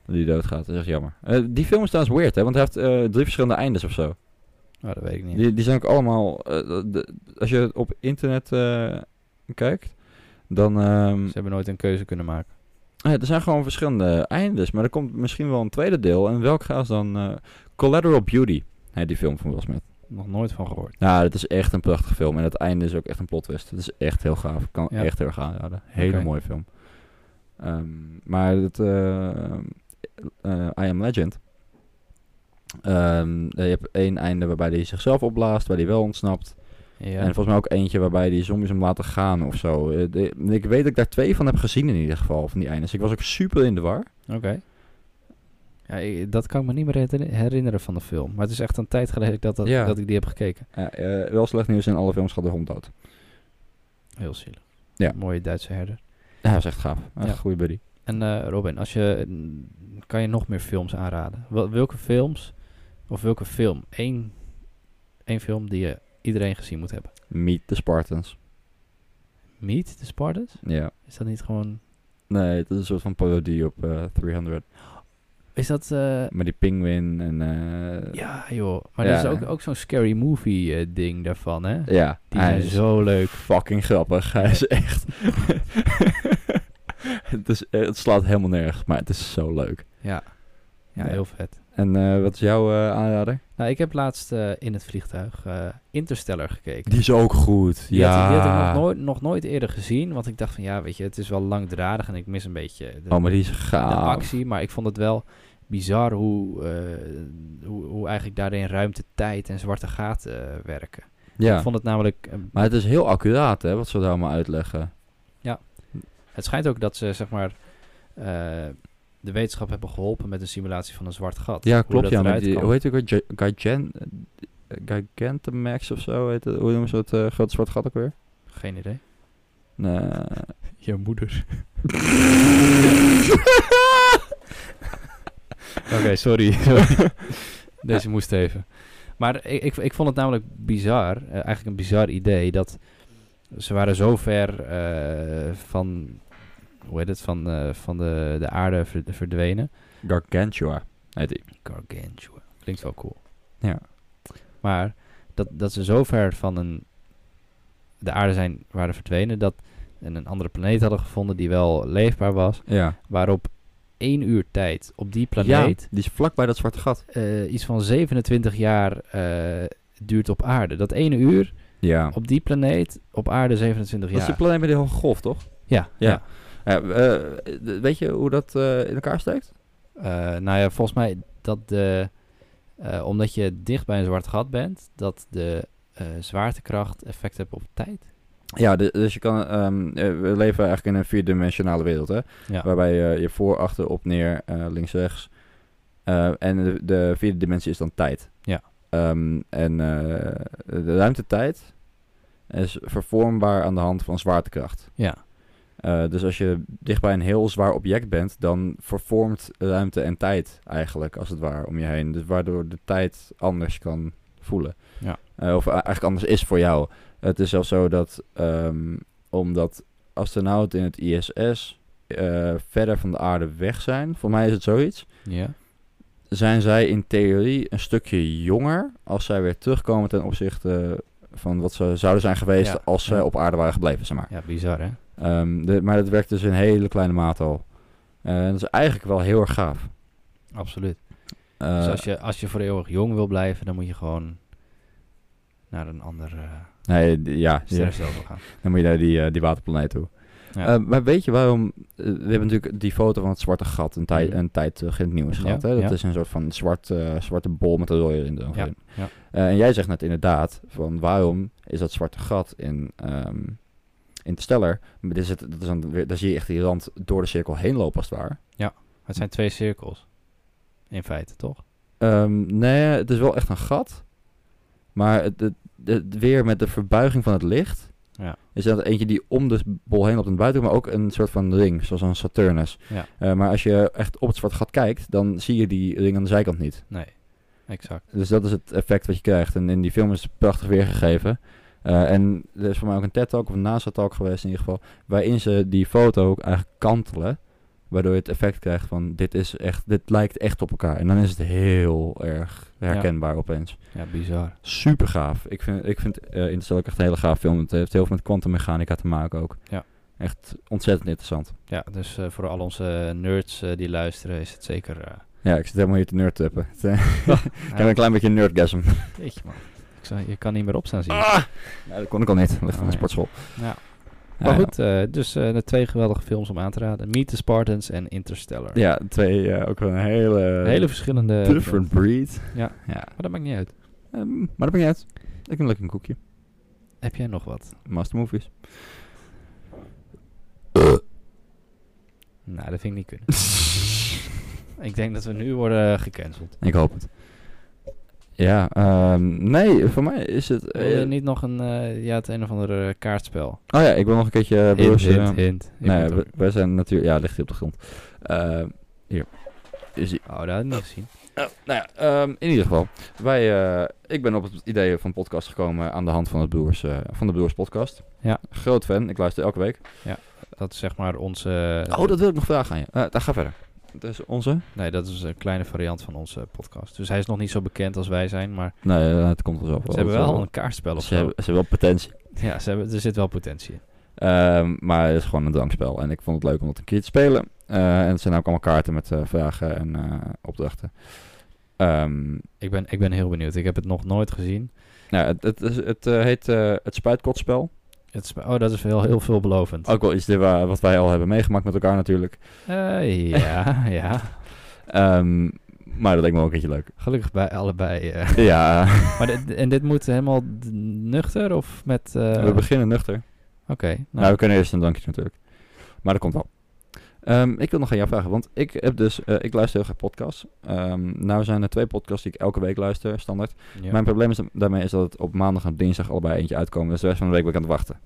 Dat die doodgaat, dat is echt jammer. Eh, die film is trouwens weird, hè? Want hij heeft eh, drie verschillende eindes of zo.
Oh, dat weet ik niet.
Die, die zijn ook allemaal... eh, de- als je op internet eh, kijkt, dan... ehm,
Ze hebben nooit een keuze kunnen maken.
Ja, Eh, er zijn gewoon verschillende eindes, maar er komt misschien wel een tweede deel. En welk gaat dan eh, Collateral Beauty? Heet die film van Will Smith.
Nog nooit van gehoord.
Nou, dat is echt een prachtige film. En het einde is ook echt een plot twist. Het is echt heel gaaf. Ik kan
Ja.
echt heel erg aanraden. Hele
Oké.
mooie film. Ehm, maar het, eh, eh, I Am Legend. Ehm, je hebt één einde waarbij hij zichzelf opblaast, waar hij wel ontsnapt.
Ja.
En volgens mij ook eentje waarbij die zombies hem laten gaan of zo. Eh, de- ik weet dat ik daar twee van heb gezien in ieder geval, van die eindes. Ik was ook super in de war.
Oké. Ja, ik- dat kan ik me niet meer herinner- herinneren van de film. Maar het is echt een tijd geleden dat, dat,
Ja.
dat ik die heb gekeken.
Ja, eh, wel slecht nieuws in alle films gaat de hond dood.
Heel zielig.
Ja.
Mooie Duitse herder.
Ja, dat is echt gaaf. Echt
Ja.
goede buddy.
En eh, Robin, als je, mm, kan je nog meer films aanraden? Wel- welke films, of welke film? Eén, één film die je iedereen gezien moet hebben.
Meet the Spartans.
Meet the Spartans?
Ja.
Is dat niet gewoon...
Nee, het is een soort van parodie op eh, 300.
Is dat... eh,
Met die penguin en... eh,
ja, joh. Maar
Ja.
dat is ook, ook zo'n scary movie eh, ding daarvan, hè?
ja.
Die
hij
zijn
is
zo leuk.
fucking grappig. Hij is echt... het, is, eh, het slaat helemaal nergens, maar het is zo leuk.
Ja. Ja,
Ja.
heel vet.
En eh, wat is jouw eh, aanrader?
Nou, ik heb laatst eh, in het vliegtuig eh, Interstellar gekeken.
Die is ook goed.
Die,
ja.
had, die had ik nog nooit, nog nooit eerder gezien, want ik dacht van ja, weet je, het is wel langdradig en ik mis een beetje de,
Oh, maar die is
de
gaaf.
actie. Maar ik vond het wel bizar hoe, eh, hoe, hoe eigenlijk daarin ruimte, tijd en zwarte gaten eh, werken.
Ja.
Ik vond het namelijk, eh,
Maar het is heel accuraat, hè, wat ze daar maar uitleggen.
het schijnt ook dat ze zeg maar eh, de wetenschap hebben geholpen met een simulatie van een zwart gat.
Ja,
Hoe
klopt.
dat
Ja, met
eruit
die,
kan.
hoe heet het ook? Gigan, Gigantamax of zo? Heet het, hoe noemen ze dat eh, grote zwart gat ook weer?
Geen idee.
Nee.
Je moeder. Oké, sorry. sorry. Deze moest even. Maar ik, ik, ik vond het namelijk bizar, eh, eigenlijk een bizar idee, dat ze waren zo ver eh, van, hoe heet het, van, eh, van de, de aarde ver- verdwenen.
Gargantua heet die.
Gargantua. Klinkt wel cool.
Ja.
Maar dat, dat ze zo ver van een, de aarde zijn, waren verdwenen, dat en een andere planeet hadden gevonden die wel leefbaar was,
Ja.
waarop één uur tijd op die planeet
die is vlakbij dat zwarte gat.
eh, iets van 27 jaar eh, duurt op aarde. Dat ene uur
Ja.
op die planeet, op aarde 27
Dat is
jaar.
die planeet met die hoge golf, toch?
ja, ja.
Ja. Ja, eh, eh, weet je hoe dat eh, in elkaar steekt?
Eh, nou ja, volgens mij dat de, eh, omdat je dicht bij een zwart gat bent, dat de eh, zwaartekracht effect heeft op tijd.
Ja, du- dus je kan... ehm, eh, we leven eigenlijk in een vierdimensionale wereld, hè?
Ja.
Waarbij eh, je voor, achter, op, neer, eh, links, rechts. Eh, en de, de vierde dimensie is dan tijd.
Ja.
Ehm, en eh, de ruimtetijd is vervormbaar aan de hand van zwaartekracht.
Ja.
Eh, dus als je dicht bij een heel zwaar object bent, dan vervormt ruimte en tijd eigenlijk, als het ware, om je heen. Dus waardoor de tijd anders kan voelen.
Ja.
Eh, of eh, eigenlijk anders is voor jou. Het is zelfs zo dat ehm, omdat astronauten in het ISS eh, verder van de aarde weg zijn, voor mij is het zoiets,
Ja.
zijn zij in theorie een stukje jonger als zij weer terugkomen ten opzichte van wat ze zouden zijn geweest
Ja,
als ze
ja.
op aarde waren gebleven, zeg maar.
ja, bizar hè?
Ehm, de- maar dat werkt dus in hele kleine mate al. Eh, dat is eigenlijk wel heel erg gaaf.
Absoluut.
Eh,
dus als je, als je voor eeuwig jong wil blijven, dan moet je gewoon naar een ander eh
nee, d- ja, ja,
sterrenstelsel gaan.
dan moet je naar die, eh, die waterplaneet toe.
Ja.
Eh, maar weet je waarom... eh, we hebben natuurlijk die foto van het zwarte gat een, tijd
Mhm.
een tijd terug in het nieuws
Ja,
gehad. Hè? Dat
ja.
is een soort van zwart, eh, zwarte bol met een rode in.
Ja,
erin.
ja.
Eh, en jij zegt net inderdaad van waarom is dat zwarte gat in... ehm in de steller, maar dit is het, dat is dan weer, daar zie je echt die rand door de cirkel heen lopen als het ware.
Het zijn twee cirkels. In feite, toch?
Ehm, nee, het is wel echt een gat. Maar het, het- het weer met de verbuiging van het licht.
Ja.
Is dat eentje die om de bol heen loopt en buiten, maar ook een soort van ring, zoals een Saturnus.
Ja.
Eh, maar als je echt op het zwart gat kijkt, dan zie je die ring aan de zijkant niet.
Nee, exact.
Dus dat is het effect wat je krijgt. En in die film is het prachtig weergegeven. Eh, en er is voor mij ook een TED-talk of een NASA-talk geweest in ieder geval, waarin ze die foto ook eigenlijk kantelen. Waardoor je het effect krijgt van dit is echt, dit lijkt echt op elkaar. En dan is het heel erg herkenbaar opeens.
Ja, bizar.
Super gaaf. Ik vind, ik vind eh Interstellar ook echt een hele gaaf film. Het heeft heel veel met kwantummechanica te maken ook.
Ja.
Echt ontzettend interessant.
Ja, dus eh, voor al onze nerds eh, die luisteren is het zeker... eh
Ja, ik zit helemaal hier te nerdtuppen. Het, eh, ik heb
ja,
een klein beetje nerdgasm.
jeetje, man. Ik zou- je kan niet meer opstaan
Ah,
zien.
Ja, dat kon ik al niet. Dat ligt aan de
Oh, Nee.
sportschool.
Ja.
Ja,
Maar goed, eh, dus eh, de twee geweldige films om aan te raden. Meet the Spartans en Interstellar.
Ja, twee eh, ook wel een hele...
Hele verschillende...
different breed.
Ja.
ja.
Maar dat maakt niet uit.
Ehm, maar dat ben jij uit. Ik een lekker een koekje.
Heb jij nog wat?
Master Movies.
Nou, dat vind ik niet kunnen. ik denk dat we nu worden eh, gecanceld.
Ik hoop het. Ja, ehm, nee, voor mij is het... eh,
Wil je niet nog een... eh, ja, het een of andere kaartspel.
Oh ja, ik wil nog een keertje... eh,
hint,
Broers,
hint,
eh,
hint. Je
Nee,
bent
we,
er-
wij zijn natuurlijk... Ja, ligt hier op de grond. Ehm, hier. Is ie.
Oh, dat had ik niet gezien.
Nou, nou ja, ehm, in ieder geval. Wij, eh, ik ben op het idee van podcast gekomen aan de hand van, het broers, eh, van de Broers podcast.
Ja.
Groot fan, ik luister elke week.
Dat is zeg maar onze...
Oh, dat wil ik nog vragen aan je. Eh dan ga verder. Dat is onze?
Nee, dat is een kleine variant van onze podcast. Dus hij is nog niet zo bekend als wij zijn, maar
Nee, eh, het komt wel zo.
ze hebben wel een kaartspel of
Ze
zo.
hebben, ze hebben wel potentie.
Ja, ze hebben, er zit wel potentie in.
Ehm, maar het is gewoon een drankspel. En ik vond het leuk om dat een keer te spelen. Eh, en het zijn ook allemaal kaarten met eh, vragen en eh, opdrachten. Ehm,
Ik ben, ik ben heel benieuwd. Ik heb het nog nooit gezien.
nou, het het, is- het eh, heet eh, het spuitkotspel.
Het is, oh, dat is wel heel veelbelovend.
Ook wel iets die we- wat wij al hebben meegemaakt met elkaar natuurlijk.
Eh, ja, ja.
Ehm, maar dat lijkt me ook een keertje leuk.
Gelukkig bij allebei. eh.
Ja,
Maar dit- en dit moet helemaal d- nuchter of met... eh,
we beginnen nuchter.
Oké.
Nou, we kunnen eerst een drankje natuurlijk. Maar dat komt wel. Ehm, ik wil nog aan jou vragen, want ik heb dus, eh, ik luister heel graag podcasts. Ehm nou zijn er twee podcasts die ik elke week luister, standaard.
ja.
Mijn probleem is, daarmee is dat het op maandag en dinsdag allebei eentje uitkomen. Dus de rest van de week ben ik aan het wachten.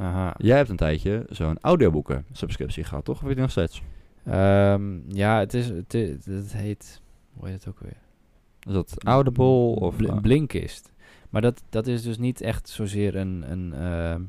Aha.
Jij hebt een tijdje zo'n audioboeken subscriptie gehad, toch? Of heb je die nog steeds?
Ehm, ja, het is... Het, is- het heet... Hoe heet het ook weer?
Is dat Audible of...
Mm. Bl-
eh,
Blinkist. Maar dat, dat is dus niet echt zozeer een, een, ehm,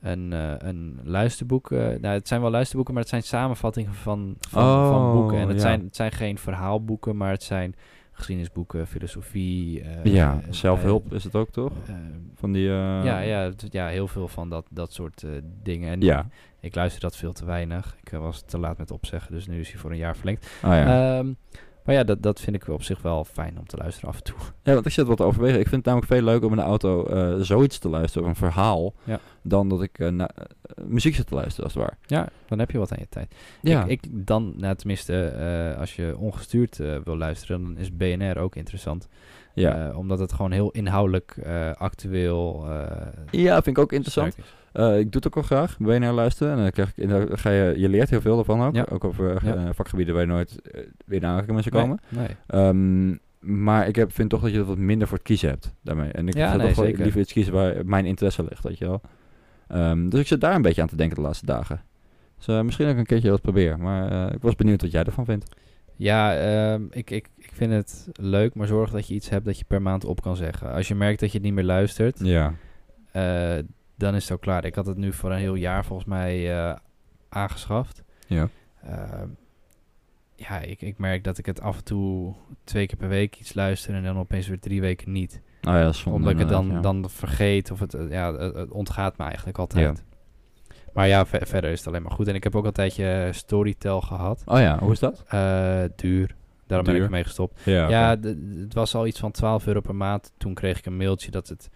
een, eh, een luisterboek. eh, nou, het zijn wel luisterboeken, maar het zijn samenvattingen van, van, van boeken. En
Oh,
het,
ja.
zijn, het zijn geen verhaalboeken, maar het zijn geschiedenisboeken, filosofie. eh,
ja,
eh,
zelfhulp is het ook, toch?
eh,
Van die... eh,
ja, ja, het- ja, heel veel van dat, dat soort eh, dingen. En
Ja.
Ik luister dat veel te weinig. Ik eh, was te laat met opzeggen, dus nu is hij voor een jaar verlengd.
Ah, ja.
Ehm, maar ja, dat, dat vind ik op zich wel fijn om te luisteren af en toe.
ja, want ik zit wat te overwegen. Ik vind het namelijk veel leuker om in de auto eh, zoiets te luisteren, of een verhaal,
Ja.
dan dat ik eh, na- eh, muziek zit te luisteren, als het ware.
Ja, dan heb je wat aan je tijd.
Ja.
Ik, ik dan, nou, tenminste, eh, als je ongestuurd eh, wil luisteren, dan is BNR ook interessant.
ja.
Eh, omdat het gewoon heel inhoudelijk, eh, actueel. eh,
ja, vind ik ook interessant.
sterk is.
Eh, ik doe het ook wel graag, BNR luisteren. En dan krijg ik, en dan ga je, je leert heel veel ervan ook.
Ja.
Ook over eh, vakgebieden waar je nooit eh, weer naar aanraking mee zou
Nee,
komen.
Nee.
Ehm, maar ik heb, vind toch dat je er wat minder voor het kiezen hebt daarmee. En ik
Ja,
ga
nee,
toch wel
zeker.
liever iets kiezen waar mijn interesse ligt, weet je wel. Ehm, dus ik zit daar een beetje aan te denken de laatste dagen. Dus eh, misschien ook een keertje dat probeer. Maar eh, ik was benieuwd wat jij ervan vindt.
Ja, ehm, ik, ik, ik Ik vind het leuk, maar zorg dat je iets hebt dat je per maand op kan zeggen. Als je merkt dat je het niet meer luistert,
Ja.
eh, dan is het al klaar. Ik had het nu voor een heel jaar volgens mij eh, aangeschaft.
Ja.
Eh, ja, ik, ik merk dat ik het af en toe twee keer per week iets luister en dan opeens weer drie weken niet.
Nou ja, dat is zonde
Omdat ik het dan,
inderdaad, ja.
dan vergeet of het, eh, ja, het het ontgaat me eigenlijk altijd. Maar ja, ver- verder is het alleen maar goed. En ik heb ook een tijdje Storytel gehad.
Oh ja, hoe is dat?
Eh, duur. Daarom ben ik
Duur.
ermee gestopt.
Ja.
Ja, de- het was al iets van 12 euro per maand. Toen kreeg ik een mailtje dat het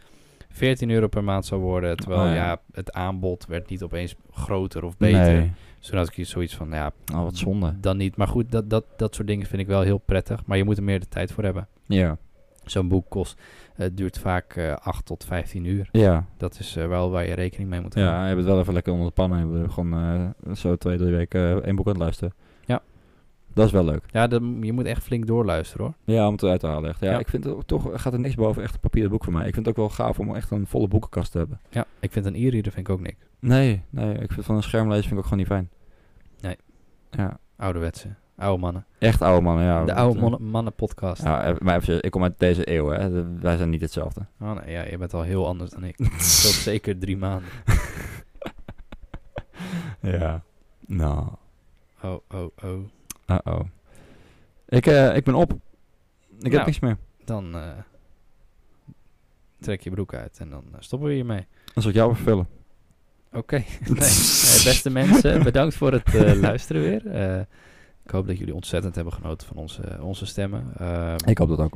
14 euro per maand zou worden. Terwijl
Oh,
ja.
ja.
het aanbod werd niet opeens groter of beter.
Nee.
Dus toen had ik hier zoiets van, ja,
Oh, wat zonde.
dan niet. Maar goed, dat, dat, dat soort dingen vind ik wel heel prettig. Maar je moet er meer de tijd voor hebben.
Ja.
Zo'n boek kost, het duurt vaak eh 8 tot 15 uur.
Ja.
Dat is eh, wel waar je rekening mee moet houden.
Ja, je hebt het wel even lekker onder de pannen. Je bent gewoon eh, zo twee, drie weken eh, één boek aan het luisteren.
Ja.
Dat is wel leuk.
Ja, dan, je moet echt flink doorluisteren hoor.
Ja, om het uit te halen echt. Ja,
Ja.
ik vind het ook- toch gaat er niks boven echt een papieren boek voor mij. Ik vind het ook wel gaaf om echt een volle boekenkast te hebben.
Ja, ik vind een e-reader vind ik ook niks.
Nee, nee. Ik vind van een schermlezer vind ik ook gewoon niet fijn.
Nee.
Ja.
Ouderwetse, oude mannen.
Echt oude mannen, ja.
de
Dat,
oude
eh,
mannen, mannen podcast.
Ja, eh, maar even, serieus, ik kom uit deze eeuw, hè. De- Wij zijn niet hetzelfde.
Oh nee, ja, je bent al heel anders dan ik. Dat scheelt zeker drie maanden.
Ja. Nou.
Oh, oh, oh.
Uh-oh. Ik, eh, ik ben op. Ik
Nou.
heb niks meer.
Dan eh, trek je broek uit en dan eh, stoppen we hiermee.
Dan zal ik jou vervullen.
Oké. Nee. Eh, beste mensen, bedankt voor het eh, luisteren weer. Eh, ik hoop dat jullie ontzettend hebben genoten van onze, onze stemmen. Eh,
Ik hoop dat ook.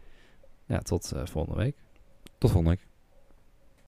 ja, tot eh, volgende week.
Tot volgende week.